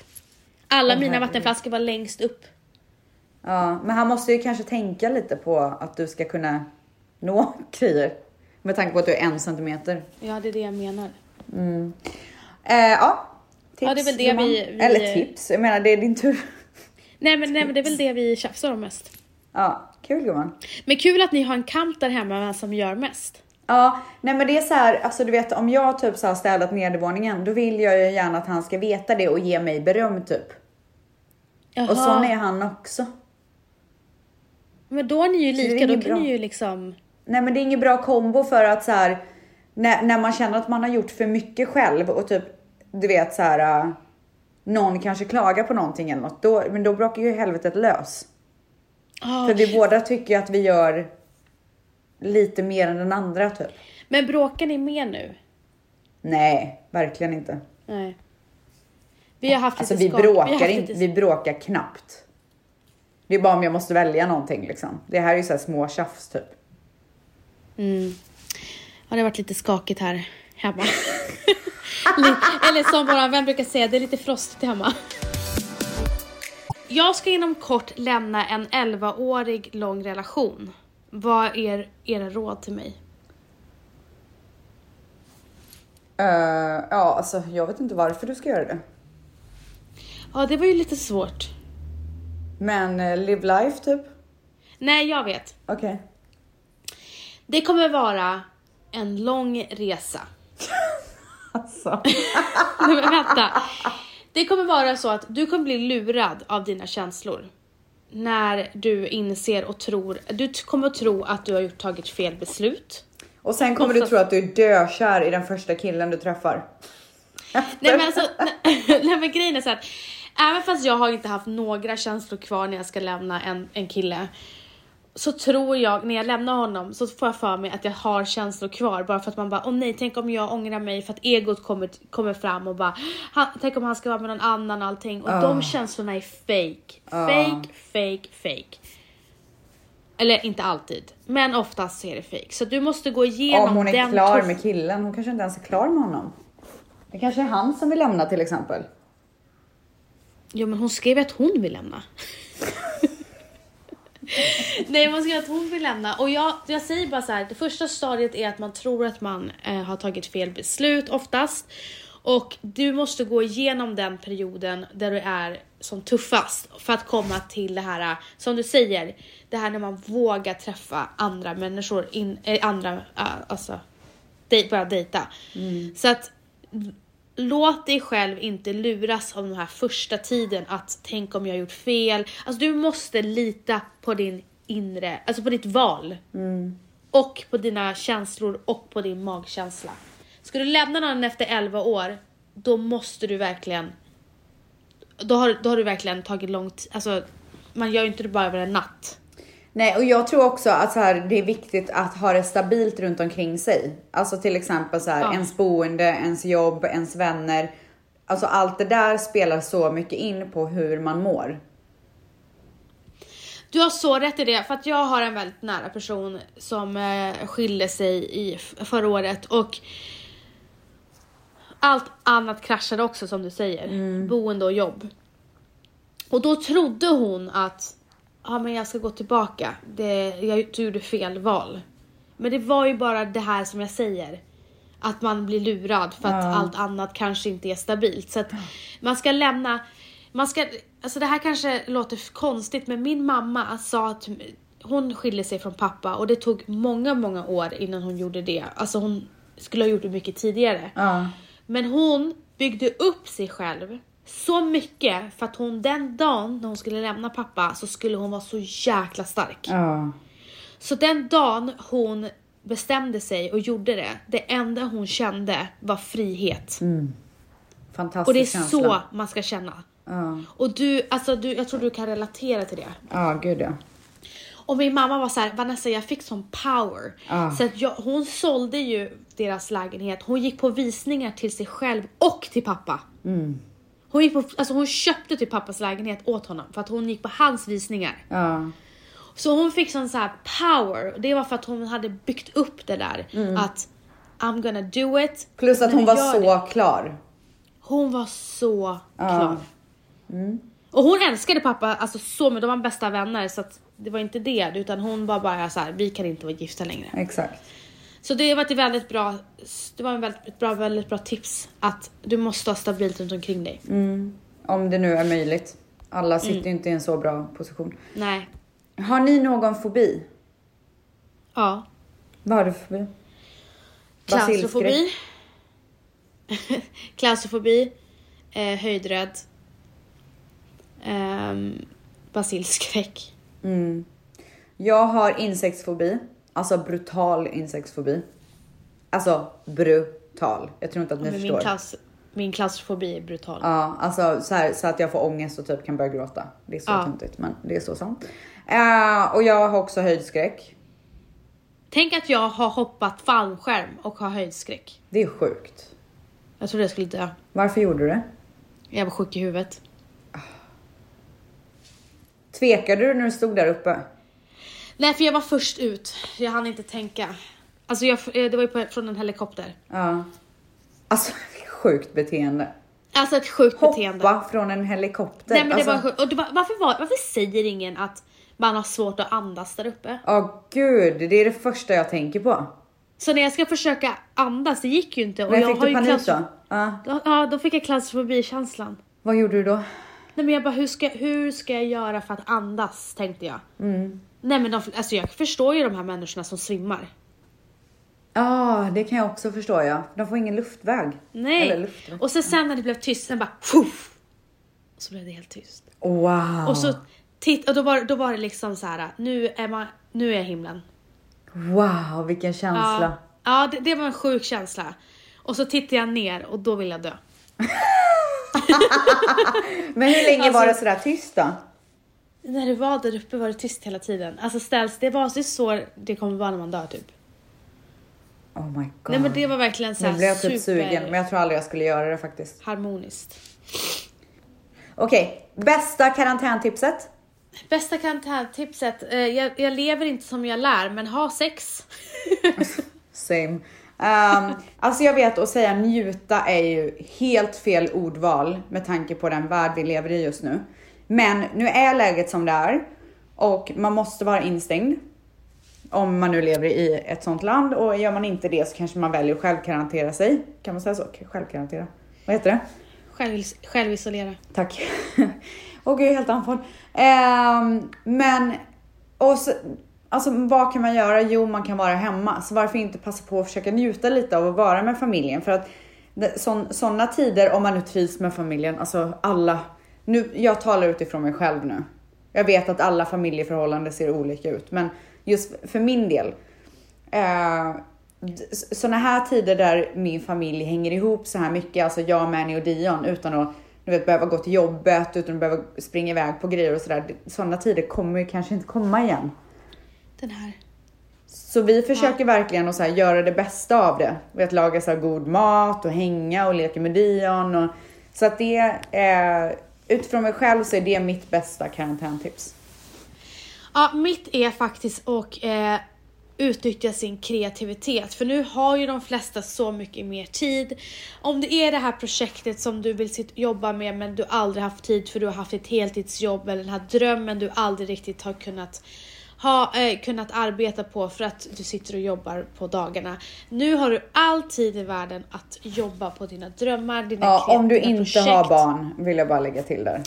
[SPEAKER 1] Alla mina vattenflaskor var längst upp.
[SPEAKER 2] Ja, men han måste ju kanske tänka lite på att du ska kunna nå grejer. Med tanke på att du är en centimeter.
[SPEAKER 1] Ja, det är det jag menar.
[SPEAKER 2] Eh, ja. Tips,
[SPEAKER 1] Ja, det är väl det vi- vi-
[SPEAKER 2] Eller tips, jag menar det är din tur.
[SPEAKER 1] Nej men, nej men det är väl det vi tjafsar om mest.
[SPEAKER 2] Ja, kul gumman.
[SPEAKER 1] Men kul att ni har en kamp där hemma vem som gör mest.
[SPEAKER 2] Ja, nej men det är så här, alltså du vet om jag typ så har städat nedervåningen, då vill jag ju gärna att han ska veta det och ge mig beröm typ.
[SPEAKER 1] Jaha,
[SPEAKER 2] Och sån är han också.
[SPEAKER 1] men då är ni ju
[SPEAKER 2] det är
[SPEAKER 1] lika, då
[SPEAKER 2] inget
[SPEAKER 1] kan
[SPEAKER 2] bra.
[SPEAKER 1] ni ju liksom...
[SPEAKER 2] Nej men det är ingen bra kombo för att så här när, när man känner att man har gjort för mycket själv och typ du vet så här äh, någon kanske klagar på någonting eller något, då, men då brakar ju helvetet lös.
[SPEAKER 1] Ah,
[SPEAKER 2] För vi båda tycker ju att vi gör lite mer än den andra typ.
[SPEAKER 1] Men bråkar ni mer nu?
[SPEAKER 2] Nej, verkligen inte.
[SPEAKER 1] Nej. Vi har haft
[SPEAKER 2] Alltså
[SPEAKER 1] lite
[SPEAKER 2] vi
[SPEAKER 1] skak- har haft
[SPEAKER 2] bråkar, inte,
[SPEAKER 1] lite-
[SPEAKER 2] vi bråkar knappt. Det är bara om jag måste välja någonting liksom. Det här är ju så här små tjafs typ.
[SPEAKER 1] Mm. Ja, det har varit lite skakigt här hemma. Li- Eller som våran vän brukar säga, det är lite frostigt hemma. Jag ska inom kort lämna en 11-årig lång relation. Vad är era råd till mig?
[SPEAKER 2] Eh, ja, alltså jag vet inte varför du ska göra det.
[SPEAKER 1] Ja, det var ju lite svårt.
[SPEAKER 2] Men eh, live life typ.
[SPEAKER 1] Nej, jag vet.
[SPEAKER 2] Okej.
[SPEAKER 1] Det kommer vara en lång resa.
[SPEAKER 2] Alltså.
[SPEAKER 1] Nej, men vänta. Det kommer vara så att du kommer bli lurad av dina känslor. När du inser och tror, du t- kommer att tro att du har gjort, tagit fel beslut.
[SPEAKER 2] Och sen kommer
[SPEAKER 1] Alltså-
[SPEAKER 2] du tro att du är dökär i den första killen du träffar.
[SPEAKER 1] Nej men alltså, nej, nej men grejen är så att även fast jag har inte haft några känslor kvar när jag ska lämna en, en kille. Så tror jag, när jag lämnar honom, så får jag för mig att jag har känslor kvar bara för att man bara, åh nej, tänk om jag ångrar mig för att egot kommer, kommer fram och bara, han, tänk om han ska vara med någon annan och allting. Och
[SPEAKER 2] Ah.
[SPEAKER 1] de känslorna är fake. Fake, fake, fake. Eller inte alltid, men oftast så är det fake. Så du måste gå igenom
[SPEAKER 2] Om hon är
[SPEAKER 1] den
[SPEAKER 2] klar
[SPEAKER 1] tuffa-
[SPEAKER 2] med killen, hon kanske inte ens är klar med honom. Det kanske är han som vill lämna till exempel.
[SPEAKER 1] Jo men hon skrev ju att hon vill lämna. Nej hon skrev att hon vill lämna och jag, jag säger bara så här, det första stadiet är att man tror att man eh, har tagit fel beslut oftast. Och du måste gå igenom den perioden där du är som tuffast för att komma till det här, eh, som du säger, det här när man vågar träffa andra människor, in, eh, andra, eh, alltså dej, börja dejta. Så att Låt dig själv inte luras av den här första tiden att tänk om jag har gjort fel. Alltså du måste lita på din inre, alltså på ditt val. Och på dina känslor och på din magkänsla. Ska du lämna någon efter 11 år, då måste du verkligen, då har, då har du verkligen tagit lång tid, alltså man gör ju inte det bara över en natt.
[SPEAKER 2] Nej, och jag tror också att så här, det är viktigt att ha det stabilt runt omkring sig. Alltså till exempel så här,
[SPEAKER 1] Ja.
[SPEAKER 2] ens boende, ens jobb, ens vänner. Alltså allt det där spelar så mycket in på hur man mår.
[SPEAKER 1] Du har så rätt i det, för att jag har en väldigt nära person som eh, skilde sig i f- förra året och allt annat kraschade också som du säger. Boende och jobb. Och då trodde hon att ja, men jag ska gå tillbaka. Det, jag gjorde fel val. Men det var ju bara det här som jag säger. Att man blir lurad för att allt annat kanske inte är stabilt. Så att man ska lämna, man ska, alltså det här kanske låter f- konstigt men min mamma sa att hon skilde sig från pappa och det tog många, många år innan hon gjorde det. Alltså hon skulle ha gjort det mycket tidigare.
[SPEAKER 2] Ja.
[SPEAKER 1] Men hon byggde upp sig själv så mycket för att hon den dagen när hon skulle lämna pappa så skulle hon vara så jäkla stark.
[SPEAKER 2] Ja.
[SPEAKER 1] Så den dagen hon bestämde sig och gjorde det, det enda hon kände var frihet.
[SPEAKER 2] Fantastisk
[SPEAKER 1] och det är
[SPEAKER 2] känsla.
[SPEAKER 1] så man ska känna.
[SPEAKER 2] Ja.
[SPEAKER 1] Och du, alltså du, jag tror du kan relatera till det.
[SPEAKER 2] Ja, gud ja.
[SPEAKER 1] Och min mamma var så här, Vanessa jag fick sån power.
[SPEAKER 2] Ah.
[SPEAKER 1] Så att jag, hon sålde ju deras lägenhet, hon gick på visningar till sig själv och till pappa.
[SPEAKER 2] Mm.
[SPEAKER 1] Hon, gick på, alltså hon köpte till pappas lägenhet åt honom för att hon gick på hans visningar.
[SPEAKER 2] Ja.
[SPEAKER 1] Så hon fick sån så här power, och det var för att hon hade byggt upp det där att I'm gonna do it.
[SPEAKER 2] Mm. Plus att
[SPEAKER 1] Men
[SPEAKER 2] hon var
[SPEAKER 1] gör
[SPEAKER 2] så
[SPEAKER 1] det.
[SPEAKER 2] klar.
[SPEAKER 1] Hon var så klar.
[SPEAKER 2] Mm.
[SPEAKER 1] Och hon älskade pappa alltså så mycket, de var bästa vänner så att det var inte det utan hon var bara så här, vi kan inte vara gifta längre.
[SPEAKER 2] Exakt.
[SPEAKER 1] Så det var ett väldigt bra, det var en väldigt, ett bra, väldigt bra tips att du måste ha stabilt runt omkring dig.
[SPEAKER 2] Mm. Om det nu är möjligt. Alla sitter
[SPEAKER 1] Mm.
[SPEAKER 2] ju inte i en så bra position.
[SPEAKER 1] Nej,
[SPEAKER 2] Har ni någon fobi?
[SPEAKER 1] ja.
[SPEAKER 2] Vad har du för fobi?
[SPEAKER 1] Klaustrofobi. Klaustrofobi. Eh, höjdrädd. Ehm, basilskräck.
[SPEAKER 2] Mm. Jag har insektsfobi. Alltså brutal insektsfobi. Alltså brutal. Jag tror inte att ni
[SPEAKER 1] Men
[SPEAKER 2] förstår.
[SPEAKER 1] min, klaus, min klaustrofobi är brutal.
[SPEAKER 2] Ja, alltså så, här, så att jag får ångest och typ kan börja gråta. Det är så
[SPEAKER 1] Ja.
[SPEAKER 2] töntigt men det är så sant. Eh, och jag har också höjdskräck.
[SPEAKER 1] Tänk att jag har hoppat fallskärm och har höjdskräck.
[SPEAKER 2] Det är sjukt.
[SPEAKER 1] Jag trodde jag skulle dö.
[SPEAKER 2] Varför gjorde du det?
[SPEAKER 1] Jag var sjuk i huvudet.
[SPEAKER 2] Tvekade du när du stod där uppe?
[SPEAKER 1] Nej, för jag var först ut. Jag hann inte tänka. Alltså, jag, eh, det var ju på, från en helikopter.
[SPEAKER 2] Ja. Alltså sjukt beteende.
[SPEAKER 1] Alltså ett sjukt
[SPEAKER 2] Hoppa
[SPEAKER 1] beteende.
[SPEAKER 2] från en helikopter.
[SPEAKER 1] Nej, men det
[SPEAKER 2] alltså,
[SPEAKER 1] var, sjukt. och det var, varför, var, varför säger ingen att man har svårt att andas där uppe?
[SPEAKER 2] Ja gud, det är det första jag tänker på.
[SPEAKER 1] Så när jag ska försöka andas, det gick ju inte. Och
[SPEAKER 2] Men
[SPEAKER 1] jag
[SPEAKER 2] fick
[SPEAKER 1] har
[SPEAKER 2] du
[SPEAKER 1] ju
[SPEAKER 2] panik då?
[SPEAKER 1] klaustro-
[SPEAKER 2] Ja.
[SPEAKER 1] då? Ja, då fick jag klaustrofobikänslan.
[SPEAKER 2] Vad gjorde du då?
[SPEAKER 1] Nej men jag bara, hur ska, hur ska jag göra för att andas? Tänkte jag.
[SPEAKER 2] Mm.
[SPEAKER 1] Nej men de, alltså jag förstår ju de här människorna som svimmar.
[SPEAKER 2] Ja, det kan jag också förstå ja. De får ingen luftväg. Eller
[SPEAKER 1] Nej.
[SPEAKER 2] luft.
[SPEAKER 1] Och sen, sen när det blev tyst, sen bara Fuff! Och så blev det helt tyst.
[SPEAKER 2] Wow.
[SPEAKER 1] Och så titt, och då var, då var det liksom så här, nu är man, nu är jag i himlen.
[SPEAKER 2] Wow, vilken
[SPEAKER 1] Ja,
[SPEAKER 2] känsla.
[SPEAKER 1] ja det, det var en sjuk känsla. Och så tittade jag ner och då ville jag dö.
[SPEAKER 2] Men hur länge var det
[SPEAKER 1] Alltså-
[SPEAKER 2] sådär tyst då?
[SPEAKER 1] När du var där uppe var det tyst hela tiden. Alltså ställs, det var så- så det kommer vara när man dör typ.
[SPEAKER 2] Oh my god.
[SPEAKER 1] Nej men det var verkligen så
[SPEAKER 2] nu
[SPEAKER 1] här
[SPEAKER 2] blev jag typ sugen, men
[SPEAKER 1] super
[SPEAKER 2] jag tror aldrig jag skulle göra det faktiskt.
[SPEAKER 1] harmoniskt.
[SPEAKER 2] Okej, bästa karantäntipset?
[SPEAKER 1] Bästa karantäntipset, eh, jag, jag lever inte som jag lär men ha sex.
[SPEAKER 2] Same. Ehm, alltså jag vet att säga njuta är ju helt fel ordval med tanke på den värld vi lever i just nu. Men nu är läget som det är och man måste vara instängd. Om man nu lever i ett sånt land och gör man inte det så kanske man väljer att självkarantera sig. Kan man säga så? Självkarantera? Vad heter det?
[SPEAKER 1] Själv, självisolera.
[SPEAKER 2] Tack. Åh gud, jag är helt andfådd. Ehm, men, och så, alltså vad kan man göra? Jo, man kan vara hemma. Så varför inte passa på att försöka njuta lite av att vara med familjen? För att sådana tider, om man nu trivs med familjen, alltså alla. Nu, jag talar utifrån mig själv nu. Jag vet att alla familjeförhållanden ser olika ut, men just för min del. Eh, Sådana här tider där min familj hänger ihop så här mycket, alltså jag, Manny och Dion, utan att du vet, behöva gå till jobbet, utan att behöva springa iväg på grejer och sådär. Sådana tider kommer ju kanske inte komma igen.
[SPEAKER 1] Den här.
[SPEAKER 2] Så vi försöker verkligen att så här, göra det bästa av det. Vet, laga så här, god mat och hänga och leka med Dion. Och, så att det, eh, utifrån mig själv så är det mitt bästa karantäntips.
[SPEAKER 1] Ja, mitt är faktiskt att eh, utnyttja sin kreativitet. För nu har ju de flesta så mycket mer tid. Om det är det här projektet som du vill sitt, jobba med men du aldrig haft tid för du har haft ett heltidsjobb eller den här drömmen du aldrig riktigt har kunnat ha eh, kunnat arbeta på för att du sitter och jobbar på dagarna. Nu har du all tid i världen att jobba på dina drömmar, dina
[SPEAKER 2] Ja,
[SPEAKER 1] kre-
[SPEAKER 2] om du
[SPEAKER 1] dina
[SPEAKER 2] inte har
[SPEAKER 1] projekt.
[SPEAKER 2] barn vill jag bara lägga till där.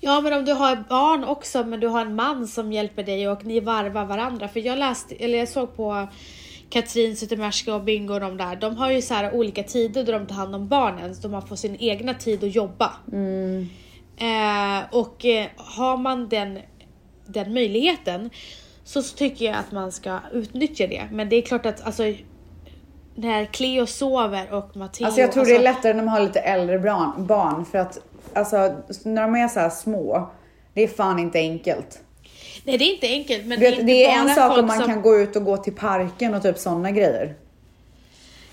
[SPEAKER 1] Ja men om du har barn också men du har en man som hjälper dig och ni varvar varandra. För jag läste, eller jag såg på Katrin Zytomierska och Bingo och de där, de har ju så här olika tider då de tar hand om barnen. Så de har fått sin egna tid att jobba.
[SPEAKER 2] Mm.
[SPEAKER 1] Eh, och eh, har man den, den möjligheten så, så tycker jag att man ska utnyttja det. Men det är klart att alltså, när Cleo sover och Matteo...
[SPEAKER 2] Alltså jag tror det är lättare när man har lite äldre barn, barn för att alltså när de är så här små, det är fan inte enkelt.
[SPEAKER 1] Nej det är inte enkelt men det
[SPEAKER 2] Du
[SPEAKER 1] är
[SPEAKER 2] vet,
[SPEAKER 1] inte
[SPEAKER 2] det är
[SPEAKER 1] bara
[SPEAKER 2] en sak
[SPEAKER 1] folk
[SPEAKER 2] om man
[SPEAKER 1] som...
[SPEAKER 2] kan gå ut och gå till parken och typ sådana grejer.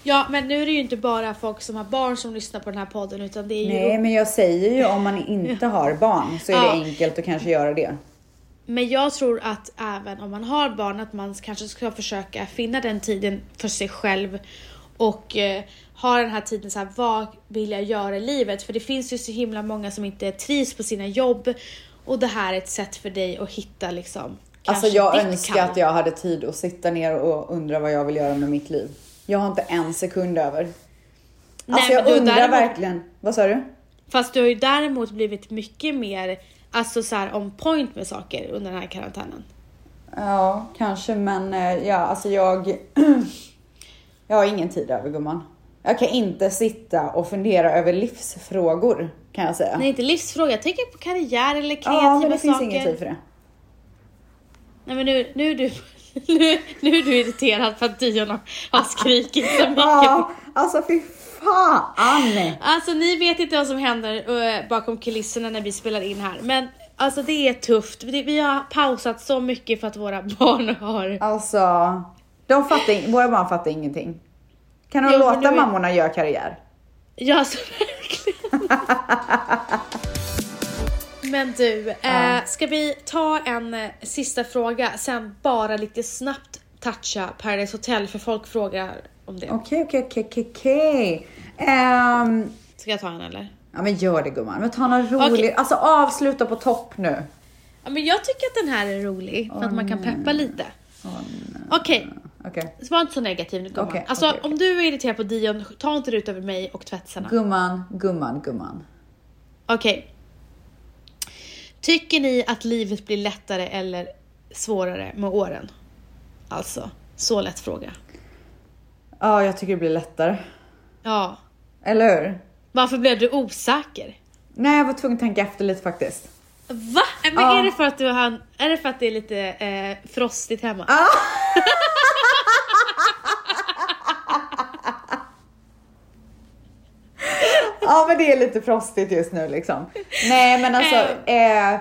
[SPEAKER 1] Ja men nu är det ju inte bara folk som har barn som lyssnar på den här podden utan det är ju...
[SPEAKER 2] Nej, men jag säger ju om man inte har barn så är
[SPEAKER 1] Ja.
[SPEAKER 2] det enkelt att kanske göra det. Alltså,
[SPEAKER 1] Men jag tror att även om man har barn att man kanske ska försöka finna den tiden för sig själv och eh, ha den här tiden så här, vad vill jag göra i livet? För det finns ju så himla många som inte trivs på sina jobb och det här är ett sätt för dig att hitta liksom
[SPEAKER 2] Alltså
[SPEAKER 1] kanske
[SPEAKER 2] jag
[SPEAKER 1] ditt
[SPEAKER 2] önskar
[SPEAKER 1] kall.
[SPEAKER 2] att jag hade tid att sitta ner och undra vad jag vill göra med mitt liv. Jag har inte en sekund över. alltså
[SPEAKER 1] men
[SPEAKER 2] jag
[SPEAKER 1] du,
[SPEAKER 2] undrar
[SPEAKER 1] däremot-
[SPEAKER 2] verkligen. Vad sa du?
[SPEAKER 1] Fast du har ju däremot blivit mycket mer alltså så här on point med saker under den här karantänen.
[SPEAKER 2] Ja, kanske men eh, ja, alltså jag... jag har ingen tid över gumman. Jag kan inte sitta och fundera över livsfrågor kan jag säga.
[SPEAKER 1] Nej inte livsfråga, jag tänker på karriär eller kreativa
[SPEAKER 2] ja, men det finns
[SPEAKER 1] saker.
[SPEAKER 2] ingen tid för det.
[SPEAKER 1] Nej men nu, nu är du... Nu, nu är du irriterad för att Dion har, har skrikit så mycket.
[SPEAKER 2] Ja, alltså fy fan!
[SPEAKER 1] Alltså ni vet inte vad som händer eh, bakom kulisserna när vi spelar in här. Men alltså det är tufft. Vi, vi har pausat så mycket för att våra barn har...
[SPEAKER 2] Alltså, de fattar, in- våra barn fattar ingenting. Kan de
[SPEAKER 1] Jo, men
[SPEAKER 2] låta
[SPEAKER 1] du är-
[SPEAKER 2] mammorna göra karriär?
[SPEAKER 1] Ja alltså verkligen. Men du, eh, ska vi ta en eh, sista fråga sen bara lite snabbt toucha Paradise Hotel för folk frågar om det.
[SPEAKER 2] Okej, okej, okej, okej, okej. Ehm,
[SPEAKER 1] Ska jag ta en eller?
[SPEAKER 2] ja men gör det gumman, men ta något roligt.
[SPEAKER 1] Okej.
[SPEAKER 2] Alltså avsluta på topp nu.
[SPEAKER 1] Ja, men jag tycker att den här är rolig för att man kan peppa lite. Okej,
[SPEAKER 2] Okej.
[SPEAKER 1] var inte så negativ nu gumman.
[SPEAKER 2] Okej,
[SPEAKER 1] alltså
[SPEAKER 2] okej, okej.
[SPEAKER 1] om du är irriterad på Dion, ta inte det ut över mig och tvättsarna.
[SPEAKER 2] Gumman, gumman, gumman.
[SPEAKER 1] Okej. Tycker ni att livet blir lättare eller svårare med åren? Alltså, så lätt fråga.
[SPEAKER 2] Ja, jag tycker det blir lättare.
[SPEAKER 1] Ja.
[SPEAKER 2] Eller hur?
[SPEAKER 1] Varför blev du osäker?
[SPEAKER 2] Nej, jag var tvungen att tänka efter lite faktiskt.
[SPEAKER 1] Va? Men
[SPEAKER 2] Ja.
[SPEAKER 1] är, det för att du har, är det för att det är lite eh, frostigt hemma?
[SPEAKER 2] Ja, men det är lite frostigt just nu liksom. Nej, men alltså. Eh,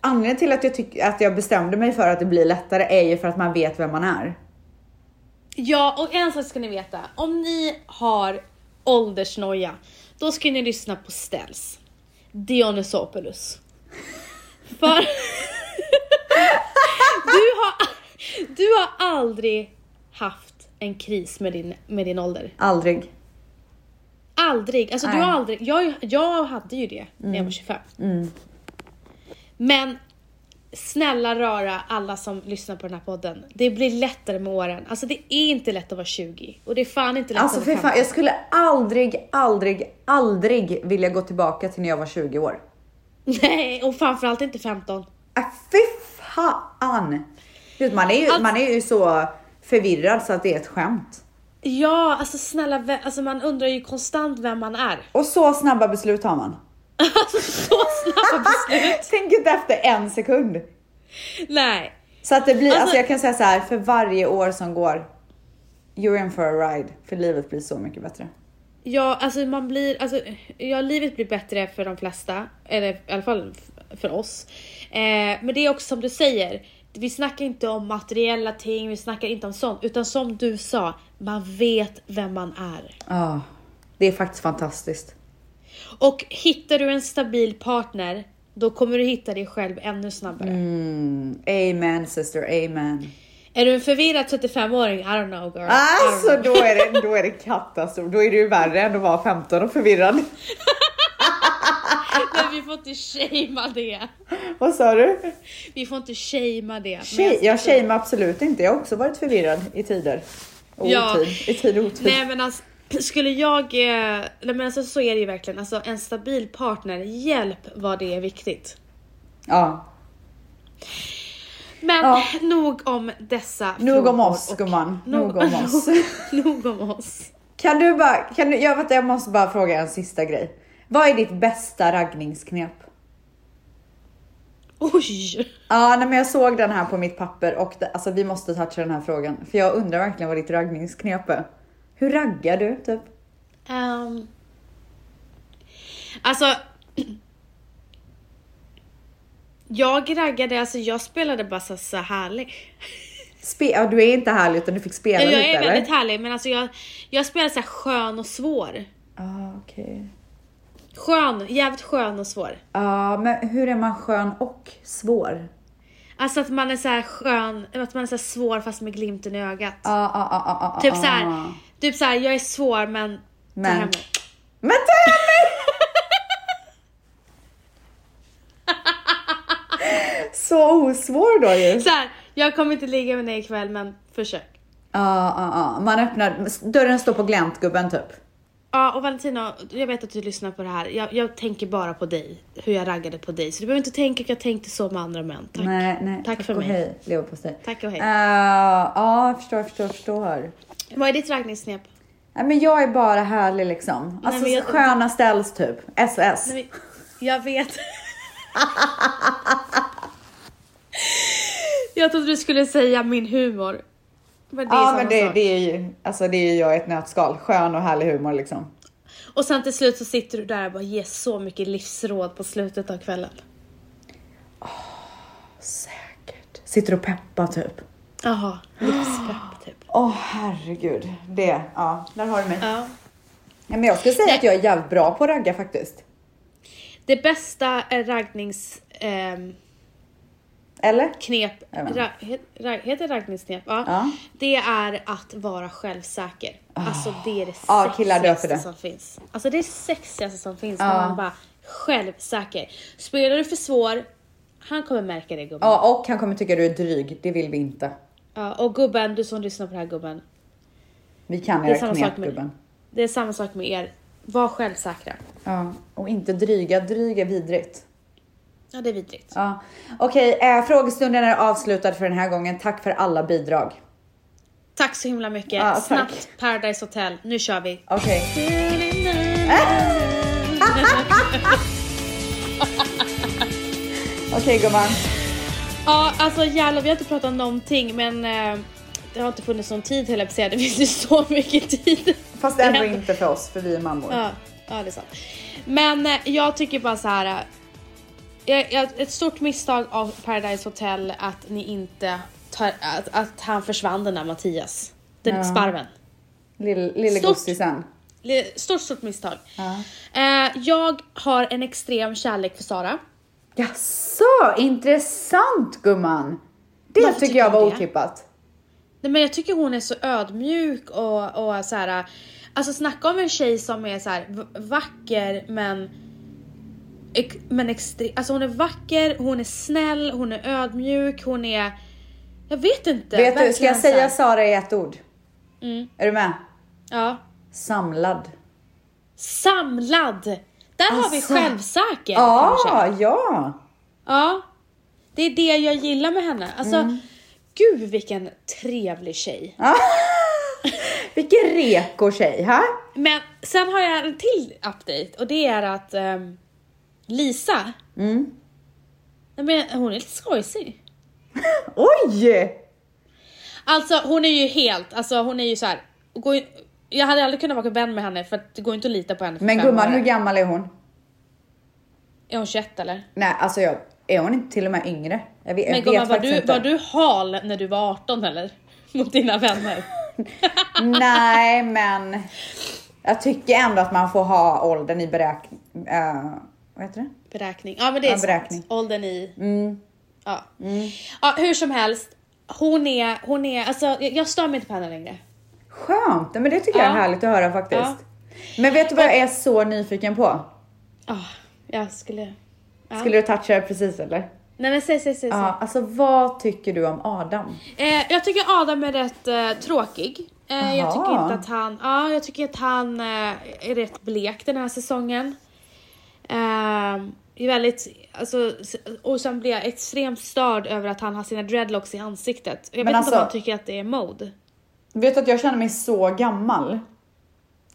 [SPEAKER 2] anledningen till att jag, tyck- att jag bestämde mig för att det blir lättare är ju för att man vet vem man är.
[SPEAKER 1] Ja, och en sak ska ni veta. Om ni har åldersnoja, då ska ni lyssna på Ställs. Dionysopoulos. För... du, har, du har aldrig haft en kris med din, med din ålder.
[SPEAKER 2] Aldrig.
[SPEAKER 1] Aldrig. Alltså, du
[SPEAKER 2] Nej. Mm.
[SPEAKER 1] har aldrig jag, jag hade ju det när jag var 25. Men snälla rara alla som lyssnar på den här podden. Det blir lättare med åren. Alltså det är inte lätt att vara 20 och det är fan inte lätt
[SPEAKER 2] Alltså
[SPEAKER 1] att
[SPEAKER 2] för
[SPEAKER 1] vara
[SPEAKER 2] fan,
[SPEAKER 1] 50.
[SPEAKER 2] jag skulle aldrig, aldrig, aldrig vilja gå tillbaka till när jag var 20 år.
[SPEAKER 1] Nej, och framförallt inte 15.
[SPEAKER 2] Äh, fy fan! Du vet, Man är, ju, man är ju så förvirrad så att det är ett skämt.
[SPEAKER 1] Ja, alltså snälla, vä- alltså man undrar ju konstant vem man är.
[SPEAKER 2] Och så snabba beslut har man.
[SPEAKER 1] Alltså så snabba beslut.
[SPEAKER 2] Tänk inte efter en sekund.
[SPEAKER 1] Nej.
[SPEAKER 2] Så att det blir, alltså,
[SPEAKER 1] Alltså-
[SPEAKER 2] jag kan säga så här, för varje år som går, you're in for a ride. För livet blir så mycket bättre.
[SPEAKER 1] Ja, alltså man blir, alltså, ja, livet blir bättre för de flesta, eller i alla fall f- för oss. Eh, men det är också som du säger, vi snackar inte om materiella ting, vi snackar inte om sånt, utan som du sa, man vet vem man är.
[SPEAKER 2] Ah, det är faktiskt fantastiskt.
[SPEAKER 1] Och hittar du en stabil partner, då kommer du hitta dig själv ännu snabbare.
[SPEAKER 2] Mm, amen sister, amen.
[SPEAKER 1] Är du en förvirrad 35-åring? I don't know girl. I don't
[SPEAKER 2] Alltså då är det, då är det katastrof. Då är det ju värre än att vara 15 och förvirrad. ah.
[SPEAKER 1] know. Men vi får inte shamea det.
[SPEAKER 2] Vad sa du?
[SPEAKER 1] Vi får inte shamea det. Men
[SPEAKER 2] Tjej,
[SPEAKER 1] jag-
[SPEAKER 2] jag shamear absolut inte. Jag har också varit förvirrad i tider. Och
[SPEAKER 1] Ja.
[SPEAKER 2] otid. I tid och otid.
[SPEAKER 1] Nej men alltså, skulle jag... eh, Nej men alltså så är det ju verkligen. Alltså en stabil partner, hjälp vad det är viktigt.
[SPEAKER 2] Ja.
[SPEAKER 1] Men
[SPEAKER 2] Ja.
[SPEAKER 1] nog om dessa
[SPEAKER 2] Nog om
[SPEAKER 1] frågor
[SPEAKER 2] oss
[SPEAKER 1] och-
[SPEAKER 2] gumman. Nog om oss.
[SPEAKER 1] nog om oss.
[SPEAKER 2] Kan du bara, kan du, jag, vet, jag måste bara fråga en sista grej. Vad är ditt bästa raggningsknep?
[SPEAKER 1] Oj!
[SPEAKER 2] Ja, nej, men jag såg den här på mitt papper och det, alltså, vi måste toucha den här frågan. För jag undrar verkligen vad ditt raggningsknep är. Hur raggar du typ?
[SPEAKER 1] Ehm. alltså... Jag raggade, alltså jag spelade bara så, så härlig.
[SPEAKER 2] Spe, ja, du är inte härlig utan du fick spela
[SPEAKER 1] Jag
[SPEAKER 2] lite
[SPEAKER 1] är
[SPEAKER 2] eller?
[SPEAKER 1] väldigt härlig men alltså jag, jag spelade så här skön och svår.
[SPEAKER 2] ah, okej.
[SPEAKER 1] Skön, jävligt skön och svår.
[SPEAKER 2] Ja, men hur är man skön och svår?
[SPEAKER 1] Alltså att man är så här skön, att man är så här svår fast med glimten i ögat.
[SPEAKER 2] Ja, ja, ja, ja, ja,
[SPEAKER 1] Typ
[SPEAKER 2] ja.
[SPEAKER 1] så här, typ så här, jag är svår men,
[SPEAKER 2] Men-
[SPEAKER 1] ta hem mig.
[SPEAKER 2] Men ta hem mig! Så osvår då ju.
[SPEAKER 1] Så här, jag kommer inte ligga med dig ikväll men försök.
[SPEAKER 2] Ja, ja, ja. Man öppnar, dörren står på glänt gubben typ.
[SPEAKER 1] Ja och Valentino, jag vet att du lyssnar på det här. Jag, jag tänker bara på dig, hur jag raggade på dig. Så du behöver inte tänka att jag tänkte så med andra män. Tack.
[SPEAKER 2] Nej, nej.
[SPEAKER 1] Tack för
[SPEAKER 2] och
[SPEAKER 1] mig.
[SPEAKER 2] hej, leverpastej.
[SPEAKER 1] Tack och hej.
[SPEAKER 2] Eh, Ja, jag förstår, förstår, förstår.
[SPEAKER 1] Vad är ditt raggningsknep?
[SPEAKER 2] Nej, men jag är bara härlig liksom. Alltså
[SPEAKER 1] men jag-
[SPEAKER 2] sköna ställs typ. SS.
[SPEAKER 1] Nej, men- Jag vet. jag trodde du skulle säga min humor. Men det är
[SPEAKER 2] ja,
[SPEAKER 1] samma
[SPEAKER 2] men det,
[SPEAKER 1] sak.
[SPEAKER 2] det är ju, alltså det är ju jag i ett nötskal. Skön och härlig humor liksom.
[SPEAKER 1] Och sen till slut så sitter du där och bara ger så mycket livsråd på slutet av kvällen.
[SPEAKER 2] Säkert. Sitter och peppar typ.
[SPEAKER 1] Jaha, livspepp typ.
[SPEAKER 2] Åh herregud. Det, ja, där har du mig.
[SPEAKER 1] Ja.
[SPEAKER 2] Nej, men jag skulle säga att jag är jävligt bra på att ragga faktiskt.
[SPEAKER 1] Det bästa är raggnings... ehm,
[SPEAKER 2] Eller?
[SPEAKER 1] knep,
[SPEAKER 2] Jajamän.
[SPEAKER 1] ra, he, ra, heter det raggningsknep? Ja.
[SPEAKER 2] Ja. Ah.
[SPEAKER 1] Det är att vara självsäker. Alltså det är det
[SPEAKER 2] Ja, killar dör för
[SPEAKER 1] sexigaste
[SPEAKER 2] det.
[SPEAKER 1] som finns. Alltså det är det sexigaste som finns när man bara självsäker. Spelar du för svår, han kommer märka det gubben. Ja.
[SPEAKER 2] Ja, och han kommer tycka du är dryg. Det vill vi inte.
[SPEAKER 1] och gubben, du som lyssnar på det här gubben.
[SPEAKER 2] Vi kan
[SPEAKER 1] Det är
[SPEAKER 2] era
[SPEAKER 1] samma
[SPEAKER 2] knep
[SPEAKER 1] sak med
[SPEAKER 2] gubben.
[SPEAKER 1] Det är samma sak med er. Var självsäkra.
[SPEAKER 2] Ja, och inte dryga. Dryg är vidrigt.
[SPEAKER 1] Ja det är vidrigt.
[SPEAKER 2] Ja. Okej, eh, frågestunden är avslutad för den här gången. Tack för alla bidrag.
[SPEAKER 1] Tack så himla mycket.
[SPEAKER 2] Ja, tack.
[SPEAKER 1] Snabbt Paradise Hotel. Nu kör vi.
[SPEAKER 2] Okej. Okej gumman.
[SPEAKER 1] Ja, alltså jävlar vi har inte pratat om någonting men eh, det har inte funnits någon tid heller på att säga. Det finns ju så mycket tid.
[SPEAKER 2] Fast ändå inte för oss, för vi är mammor.
[SPEAKER 1] Ja, ja det är sant. Men eh, jag tycker bara så här. eh, Jag, jag, ett stort misstag av Paradise Hotel att ni inte tar, att, att han försvann den där Mattias. Den
[SPEAKER 2] Ja.
[SPEAKER 1] sparven.
[SPEAKER 2] Lille, lille
[SPEAKER 1] Stort.
[SPEAKER 2] gossisen.
[SPEAKER 1] Le- Stort, stort misstag.
[SPEAKER 2] Ja.
[SPEAKER 1] Eh, jag har en extrem kärlek för Sara.
[SPEAKER 2] Jaså, intressant gumman. Det
[SPEAKER 1] Varför
[SPEAKER 2] tycker
[SPEAKER 1] tycker
[SPEAKER 2] jag var
[SPEAKER 1] du det?
[SPEAKER 2] otippat.
[SPEAKER 1] Nej, men jag tycker hon är så ödmjuk och, och så här. Alltså snacka om en tjej som är så här v- vacker men ex, men extre, alltså hon är vacker, hon är snäll, hon är ödmjuk, hon är jag vet inte.
[SPEAKER 2] Vet du, ska
[SPEAKER 1] verkligen
[SPEAKER 2] jag säga
[SPEAKER 1] så?
[SPEAKER 2] Sara i ett ord?
[SPEAKER 1] här. Mm,
[SPEAKER 2] Är du med?
[SPEAKER 1] ja.
[SPEAKER 2] Samlad.
[SPEAKER 1] Samlad. Där har vi
[SPEAKER 2] Alltså.
[SPEAKER 1] självsäker. kanske.
[SPEAKER 2] Ja, ja.
[SPEAKER 1] Ja. Det är det jag gillar med henne. Alltså
[SPEAKER 2] Mm.
[SPEAKER 1] gud vilken trevlig tjej.
[SPEAKER 2] Vilken reko tjej, ha?
[SPEAKER 1] Men sen har jag en till update och det är att ehm, Lisa,
[SPEAKER 2] Mm.
[SPEAKER 1] nej, men hon är lite skojsig.
[SPEAKER 2] Oj!
[SPEAKER 1] Alltså hon är ju helt, alltså hon är ju så här. Går, ju- jag hade aldrig kunnat vara vän med henne för att det går inte att lita på henne för
[SPEAKER 2] Men
[SPEAKER 1] fem
[SPEAKER 2] gumman,
[SPEAKER 1] öre.
[SPEAKER 2] hur gammal är hon?
[SPEAKER 1] Är hon 21 eller?
[SPEAKER 2] Nej, alltså jag, är hon inte till och med yngre? Jag vet,
[SPEAKER 1] Men
[SPEAKER 2] jag
[SPEAKER 1] gumman
[SPEAKER 2] vet
[SPEAKER 1] var
[SPEAKER 2] faktiskt
[SPEAKER 1] du,
[SPEAKER 2] inte.
[SPEAKER 1] var du hal när du var 18 eller? Mot dina vänner?
[SPEAKER 2] Nej, men jag tycker ändå att man får ha åldern i beräkning. eh, vad heter det?
[SPEAKER 1] Beräkning. Ja men det är
[SPEAKER 2] Ja,
[SPEAKER 1] sant.
[SPEAKER 2] beräkning. Mm.
[SPEAKER 1] Åldern i... Ja. ja. Hur som helst, hon är, hon är, alltså jag, jag stör mig inte på henne längre.
[SPEAKER 2] Skönt, men det tycker jag är
[SPEAKER 1] Ja.
[SPEAKER 2] härligt att höra faktiskt. Men vet du vad jag är så nyfiken på?
[SPEAKER 1] Ja, jag skulle... Ja.
[SPEAKER 2] Skulle du toucha det precis eller?
[SPEAKER 1] Nej men säg, säg, säg. säg.
[SPEAKER 2] Ja, alltså vad tycker du om Adam?
[SPEAKER 1] Eh, jag tycker Adam är rätt eh, tråkig. Eh, jag tycker
[SPEAKER 2] Jaha.
[SPEAKER 1] inte att han, ja jag tycker att han eh, är rätt blek den här säsongen. Ehm, är väldigt, alltså, och sen blir jag extremt störd över att han har sina dreadlocks i ansiktet. Jag
[SPEAKER 2] Men
[SPEAKER 1] vet
[SPEAKER 2] alltså-
[SPEAKER 1] inte om han tycker att det är mode.
[SPEAKER 2] Vet du att jag känner mig så gammal?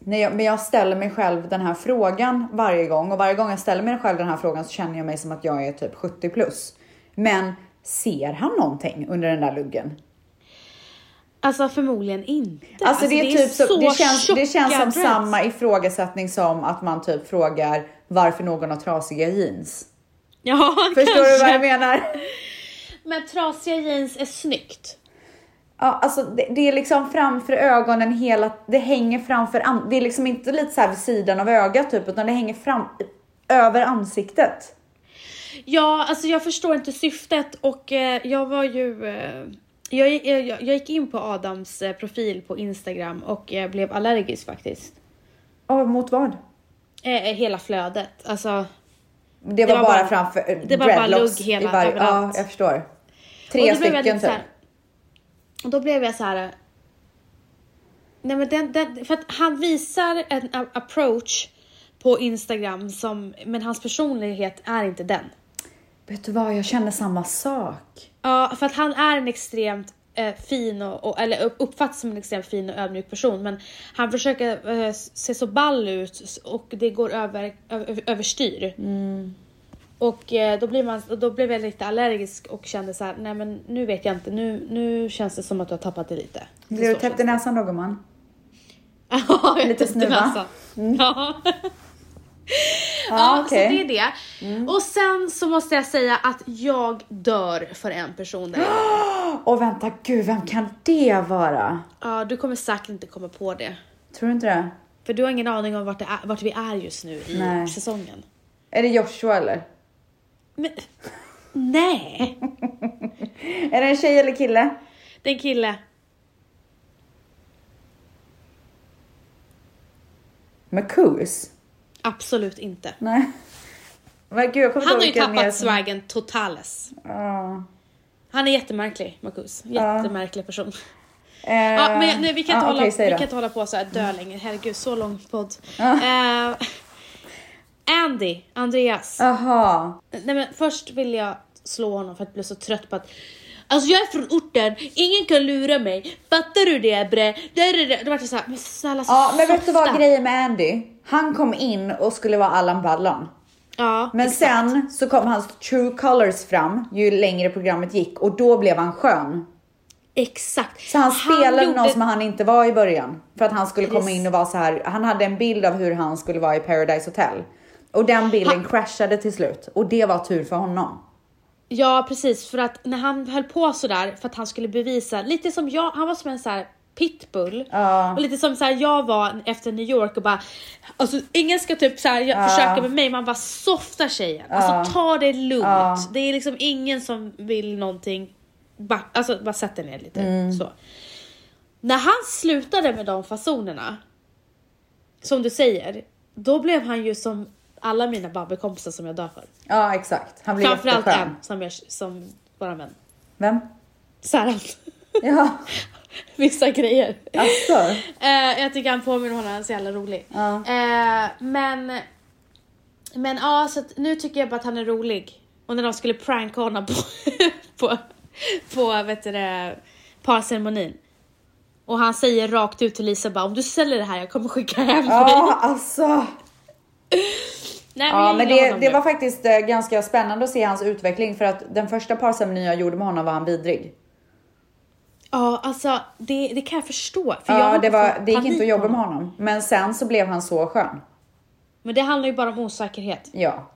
[SPEAKER 2] När jag, men jag ställer mig själv den här frågan varje gång och varje gång jag ställer mig själv den här frågan så känner jag mig som att jag är typ 70 plus. Men ser han någonting under den där luggen?
[SPEAKER 1] Alltså förmodligen inte.
[SPEAKER 2] Alltså, det, är typ så, det känns, det känns
[SPEAKER 1] tjocka
[SPEAKER 2] som
[SPEAKER 1] dreads.
[SPEAKER 2] samma ifrågasättning som att man typ frågar varför någon har trasiga jeans.
[SPEAKER 1] Ja,
[SPEAKER 2] Förstår
[SPEAKER 1] kanske.
[SPEAKER 2] du vad jag menar?
[SPEAKER 1] Men trasiga jeans är snyggt.
[SPEAKER 2] Ja, alltså det, det är liksom framför ögonen hela, det hänger framför, an- det är liksom inte lite så här vid sidan av ögat typ, utan det hänger fram, över ansiktet.
[SPEAKER 1] Ja, alltså jag förstår inte syftet och eh, jag var ju... Eh, jag, gi- jag, jag gick in på Adams eh, profil på Instagram och eh, blev allergisk faktiskt.
[SPEAKER 2] Ja, mot vad?
[SPEAKER 1] Eh, eh, hela flödet. Alltså,
[SPEAKER 2] Det, var,
[SPEAKER 1] var
[SPEAKER 2] bara,
[SPEAKER 1] bara-
[SPEAKER 2] framför, eh,
[SPEAKER 1] det var bara
[SPEAKER 2] dreadlocks
[SPEAKER 1] lugg hela-
[SPEAKER 2] i varje, Ja,
[SPEAKER 1] överallt.
[SPEAKER 2] jag förstår.
[SPEAKER 1] och då
[SPEAKER 2] Tre
[SPEAKER 1] blev jag
[SPEAKER 2] stycken
[SPEAKER 1] lite så
[SPEAKER 2] typ.
[SPEAKER 1] här- Och då blev jag så här... eh, Nej men den, den, för att han visar en a- approach på Instagram som, men hans personlighet är inte den.
[SPEAKER 2] Vet du vad, jag känner samma sak.
[SPEAKER 1] Ja, för att han är en extremt eh, fin och, och eller upp- uppfattas som en extremt fin och ödmjuk person men han försöker eh, se så ball ut s- och det går över, över, överstyr.
[SPEAKER 2] Mm.
[SPEAKER 1] Och eh, då, blir man, då blev jag lite allergisk och kände så här, nej men nu vet jag inte, nu, nu känns det som att du har tappat det lite.
[SPEAKER 2] Blir du
[SPEAKER 1] Så känns
[SPEAKER 2] täppt i näsan då gumman?
[SPEAKER 1] Ja, jag
[SPEAKER 2] Lite
[SPEAKER 1] tyckte
[SPEAKER 2] snuva.
[SPEAKER 1] nästan. Ja. ja,
[SPEAKER 2] Ah, okej. Mm.
[SPEAKER 1] så det är det. Och sen så måste jag säga att jag dör för en person där.
[SPEAKER 2] Åh vänta, gud vem kan det vara?
[SPEAKER 1] Ja, du kommer säkert inte komma på det.
[SPEAKER 2] Tror du inte det?
[SPEAKER 1] För du har ingen aning om vart, det är, vart vi är just nu i
[SPEAKER 2] Nej.
[SPEAKER 1] säsongen.
[SPEAKER 2] Är det Joshua eller?
[SPEAKER 1] Men, nej!
[SPEAKER 2] Är det en tjej eller kille?
[SPEAKER 1] Det är en kille.
[SPEAKER 2] Marcus?
[SPEAKER 1] Absolut inte.
[SPEAKER 2] Nej. Men gud, jag kommer
[SPEAKER 1] Han har ju
[SPEAKER 2] inte ihåg vilka mer
[SPEAKER 1] tappat
[SPEAKER 2] som-
[SPEAKER 1] swagen totales.
[SPEAKER 2] Ja.
[SPEAKER 1] Han är jättemärklig, Marcus. Jättemärklig person.
[SPEAKER 2] Eh,
[SPEAKER 1] Ja, men nej, vi, kan inte
[SPEAKER 2] ja,
[SPEAKER 1] hålla,
[SPEAKER 2] okej, säg
[SPEAKER 1] vi
[SPEAKER 2] då.
[SPEAKER 1] kan inte hålla på så här dö länge. Herregud, så lång podd. Eh, Andy, Andreas.
[SPEAKER 2] Aha.
[SPEAKER 1] Nej, men först vill jag slå honom för att jag blev så trött på att Alltså jag är från orten, ingen kan lura mig. Fattar du det bre? Där, där. Då vart jag såhär, men snälla så
[SPEAKER 2] Ja, men vet du vad
[SPEAKER 1] softa.
[SPEAKER 2] grejen med Andy? Han kom in och skulle vara Allan Ballan.
[SPEAKER 1] Ja,
[SPEAKER 2] Men
[SPEAKER 1] exakt.
[SPEAKER 2] sen så kom hans true colors fram ju längre programmet gick och då blev han skön.
[SPEAKER 1] Exakt.
[SPEAKER 2] Så han spelade
[SPEAKER 1] gjorde-
[SPEAKER 2] någon som han inte var i början. För att han skulle komma
[SPEAKER 1] Precis.
[SPEAKER 2] in och vara så här. Han hade en bild av hur han skulle vara i Paradise Hotel. Och den bilden crashade till slut. Och det var tur för honom.
[SPEAKER 1] Ja precis, för att när han höll på sådär för att han skulle bevisa, lite som jag, han var som en så här pitbull.
[SPEAKER 2] Ja.
[SPEAKER 1] Och lite som så här, jag var efter New York och bara, alltså ingen ska typ så här, jag, försöka med mig, man bara softa tjejen. Alltså ta det lugnt. Det är liksom ingen som vill någonting, bara, alltså bara sätt dig ner lite så. När han slutade med de fasonerna, som du säger, då blev han ju som alla mina babbelkompisar som jag dör för.
[SPEAKER 2] Ja, exakt. Han blev
[SPEAKER 1] Framförallt
[SPEAKER 2] jätteskön.
[SPEAKER 1] en som, jag, som våran vän.
[SPEAKER 2] Vem?
[SPEAKER 1] Så här,
[SPEAKER 2] Ja,
[SPEAKER 1] vissa grejer.
[SPEAKER 2] alltså.
[SPEAKER 1] Eh, jag tycker han påminner honom, han är så jävla rolig.
[SPEAKER 2] Ja.
[SPEAKER 1] Eh, men, men ja, så att nu tycker jag bara att han är rolig. Och när de skulle pranka honom på, på, på vet du det, parceremonin. Och han säger rakt ut till Lisa bara om du säljer det här jag kommer skicka hem dig.
[SPEAKER 2] Ja, alltså.
[SPEAKER 1] Nej,
[SPEAKER 2] Ja,
[SPEAKER 1] jag
[SPEAKER 2] men
[SPEAKER 1] gillar
[SPEAKER 2] det,
[SPEAKER 1] honom
[SPEAKER 2] det
[SPEAKER 1] nu.
[SPEAKER 2] var faktiskt eh, ganska spännande att se hans utveckling för att den första parceremonin jag gjorde med honom var han vidrig.
[SPEAKER 1] Ja, alltså det, det kan jag förstå. För jag
[SPEAKER 2] Ja,
[SPEAKER 1] höll
[SPEAKER 2] det,
[SPEAKER 1] på
[SPEAKER 2] var,
[SPEAKER 1] att få
[SPEAKER 2] det gick
[SPEAKER 1] panik
[SPEAKER 2] inte att jobba
[SPEAKER 1] på
[SPEAKER 2] med honom. Men sen så blev han så skön.
[SPEAKER 1] Men det handlar ju bara om osäkerhet.
[SPEAKER 2] Ja.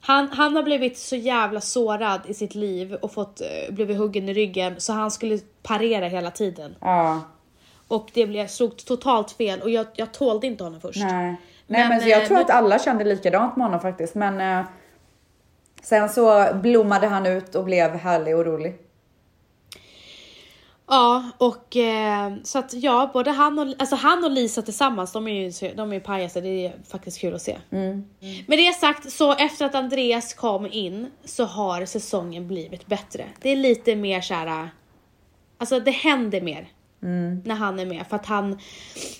[SPEAKER 1] Han, han har blivit så jävla sårad i sitt liv och fått, eh, blivit huggen i ryggen så han skulle parera hela tiden.
[SPEAKER 2] Ja.
[SPEAKER 1] Och det blev, slog totalt fel och jag, jag tålde inte honom först.
[SPEAKER 2] Nej. Nej, men,
[SPEAKER 1] Men,
[SPEAKER 2] så jag
[SPEAKER 1] eh,
[SPEAKER 2] tror
[SPEAKER 1] nu-
[SPEAKER 2] att alla kände likadant med honom faktiskt. Men eh, sen så blommade han ut och blev härlig och rolig.
[SPEAKER 1] Ja, och eh, så att ja, både han och, alltså han och Lisa tillsammans, de är ju, de är ju pajaser, det är faktiskt kul att se.
[SPEAKER 2] Mm.
[SPEAKER 1] Med det sagt, så efter att Andreas kom in så har säsongen blivit bättre. Det är lite mer såhär, alltså det händer mer
[SPEAKER 2] Mm.
[SPEAKER 1] när han är med för att han,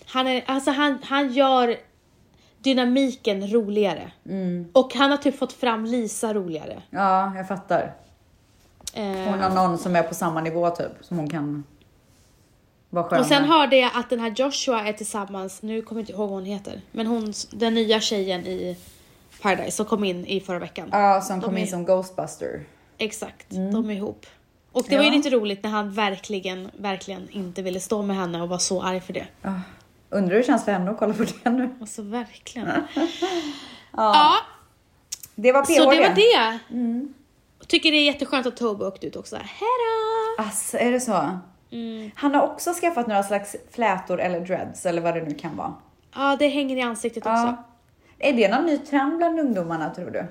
[SPEAKER 1] han är, alltså han, han gör dynamiken roligare.
[SPEAKER 2] Mm.
[SPEAKER 1] Och han har typ fått fram Lisa roligare.
[SPEAKER 2] Ja, jag fattar. Hon
[SPEAKER 1] Eh,
[SPEAKER 2] har någon som är på samma nivå typ, som hon kan vara skön
[SPEAKER 1] och sen
[SPEAKER 2] med.
[SPEAKER 1] hörde jag att den här Joshua är tillsammans, nu kommer jag inte ihåg vad hon heter, men hon, den nya tjejen i Paradise som kom in i förra veckan.
[SPEAKER 2] Ja, som
[SPEAKER 1] De
[SPEAKER 2] kom in
[SPEAKER 1] är-
[SPEAKER 2] som Ghostbuster.
[SPEAKER 1] Exakt, de är ihop. Och det var ju
[SPEAKER 2] Ja.
[SPEAKER 1] lite roligt när han verkligen, verkligen inte ville stå med henne och var så arg för det.
[SPEAKER 2] Ah, Undrar hur det känns för henne att kolla på det nu.
[SPEAKER 1] Alltså verkligen. ja,
[SPEAKER 2] Det var PH
[SPEAKER 1] så det var det.
[SPEAKER 2] Mm.
[SPEAKER 1] Tycker det är jätteskönt att Tobbe åkte ut också. Hejdå!
[SPEAKER 2] Ass, är det så?
[SPEAKER 1] Mm.
[SPEAKER 2] Han har också skaffat några slags flätor eller dreads eller vad det nu kan vara.
[SPEAKER 1] Ja, det hänger i ansiktet också.
[SPEAKER 2] Ja. Är det någon ny trend bland ungdomarna tror du?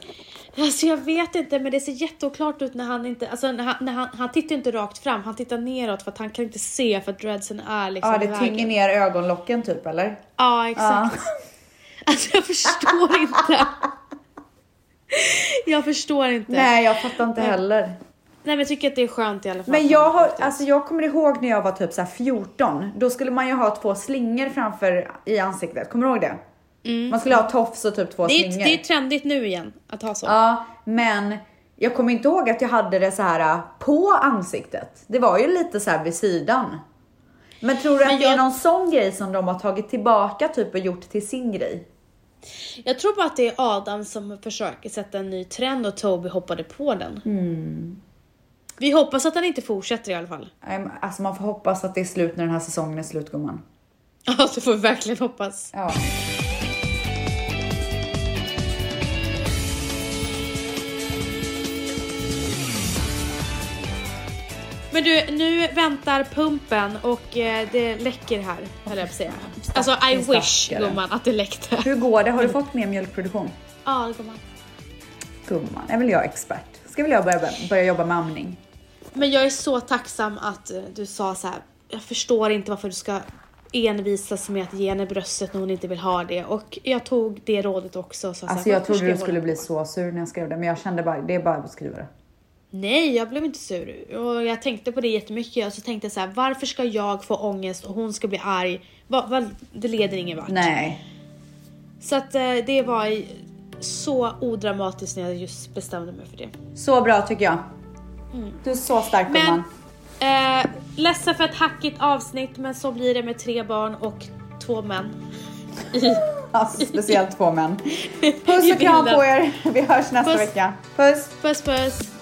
[SPEAKER 1] Alltså jag vet inte, men det ser jätteoklart ut när han inte, alltså när han, när han, han tittar inte rakt fram, han tittar neråt för att han kan inte se för att dreadsen är liksom
[SPEAKER 2] Ja,
[SPEAKER 1] i
[SPEAKER 2] det
[SPEAKER 1] vägen.
[SPEAKER 2] tynger ner ögonlocken typ eller?
[SPEAKER 1] Ja, exakt. Alltså jag förstår inte. Jag förstår inte. Nej.
[SPEAKER 2] Nej, jag fattar inte heller.
[SPEAKER 1] men jag tycker att det är skönt i alla fall.
[SPEAKER 2] Men jag har, alltså jag kommer ihåg när jag var typ så här 14. Då skulle man ju ha två slingor framför i ansiktet. Kommer du ihåg det? Man skulle ha tofs och typ två
[SPEAKER 1] Mm. det, är,
[SPEAKER 2] slingor.
[SPEAKER 1] det är trendigt nu igen att ha så.
[SPEAKER 2] Ja, men jag kommer inte ihåg att jag hade det så här äh, på ansiktet. Det var ju lite så här vid sidan. Men tror du att
[SPEAKER 1] Men
[SPEAKER 2] det är
[SPEAKER 1] jag-
[SPEAKER 2] någon sån grej som de har tagit tillbaka typ och gjort till sin grej?
[SPEAKER 1] Jag tror bara att det är Adam som försöker sätta en ny trend och Toby hoppade på den.
[SPEAKER 2] Mm.
[SPEAKER 1] Vi hoppas att han inte fortsätter i alla fall.
[SPEAKER 2] Ehm, Alltså man får hoppas att det är slut när den här säsongen är slut gumman.
[SPEAKER 1] Ja, det får vi verkligen hoppas.
[SPEAKER 2] Ja.
[SPEAKER 1] Men du, nu väntar pumpen och eh, det läcker här, höll jag på att säga. Alltså I
[SPEAKER 2] Stackare.
[SPEAKER 1] wish gumman att det läckte.
[SPEAKER 2] Hur går det? Har du fått mer mjölkproduktion?
[SPEAKER 1] Ja, gumman.
[SPEAKER 2] Gumman, är väl jag expert? Ska väl jag börja, börja jobba med amning?
[SPEAKER 1] Men jag är så tacksam att eh, du sa så här. jag förstår inte varför du ska envisas med att ge henne bröstet när hon inte vill ha det. Och jag tog det rådet också. Så så
[SPEAKER 2] Alltså
[SPEAKER 1] här,
[SPEAKER 2] jag
[SPEAKER 1] varför
[SPEAKER 2] trodde
[SPEAKER 1] ska
[SPEAKER 2] du
[SPEAKER 1] hålla
[SPEAKER 2] skulle
[SPEAKER 1] på?
[SPEAKER 2] bli så sur när jag skrev det, men jag kände bara, det är bara att skriva det.
[SPEAKER 1] Nej, jag blev inte sur. Och jag tänkte på det jättemycket. Och så tänkte jag så här, varför ska jag få ångest och hon ska bli arg? Va, va, det leder ingen vart.
[SPEAKER 2] Nej.
[SPEAKER 1] Så att eh, det var i- så odramatiskt när jag just bestämde mig för det.
[SPEAKER 2] Så bra tycker jag. Du är så stark
[SPEAKER 1] Mm. Men,
[SPEAKER 2] gumman.
[SPEAKER 1] eh, ledsen för ett hackigt avsnitt men så blir det med tre barn och två män.
[SPEAKER 2] Alltså, speciellt två män. Puss och kram på er. Vi hörs nästa
[SPEAKER 1] Puss.
[SPEAKER 2] vecka. Puss.
[SPEAKER 1] Puss puss!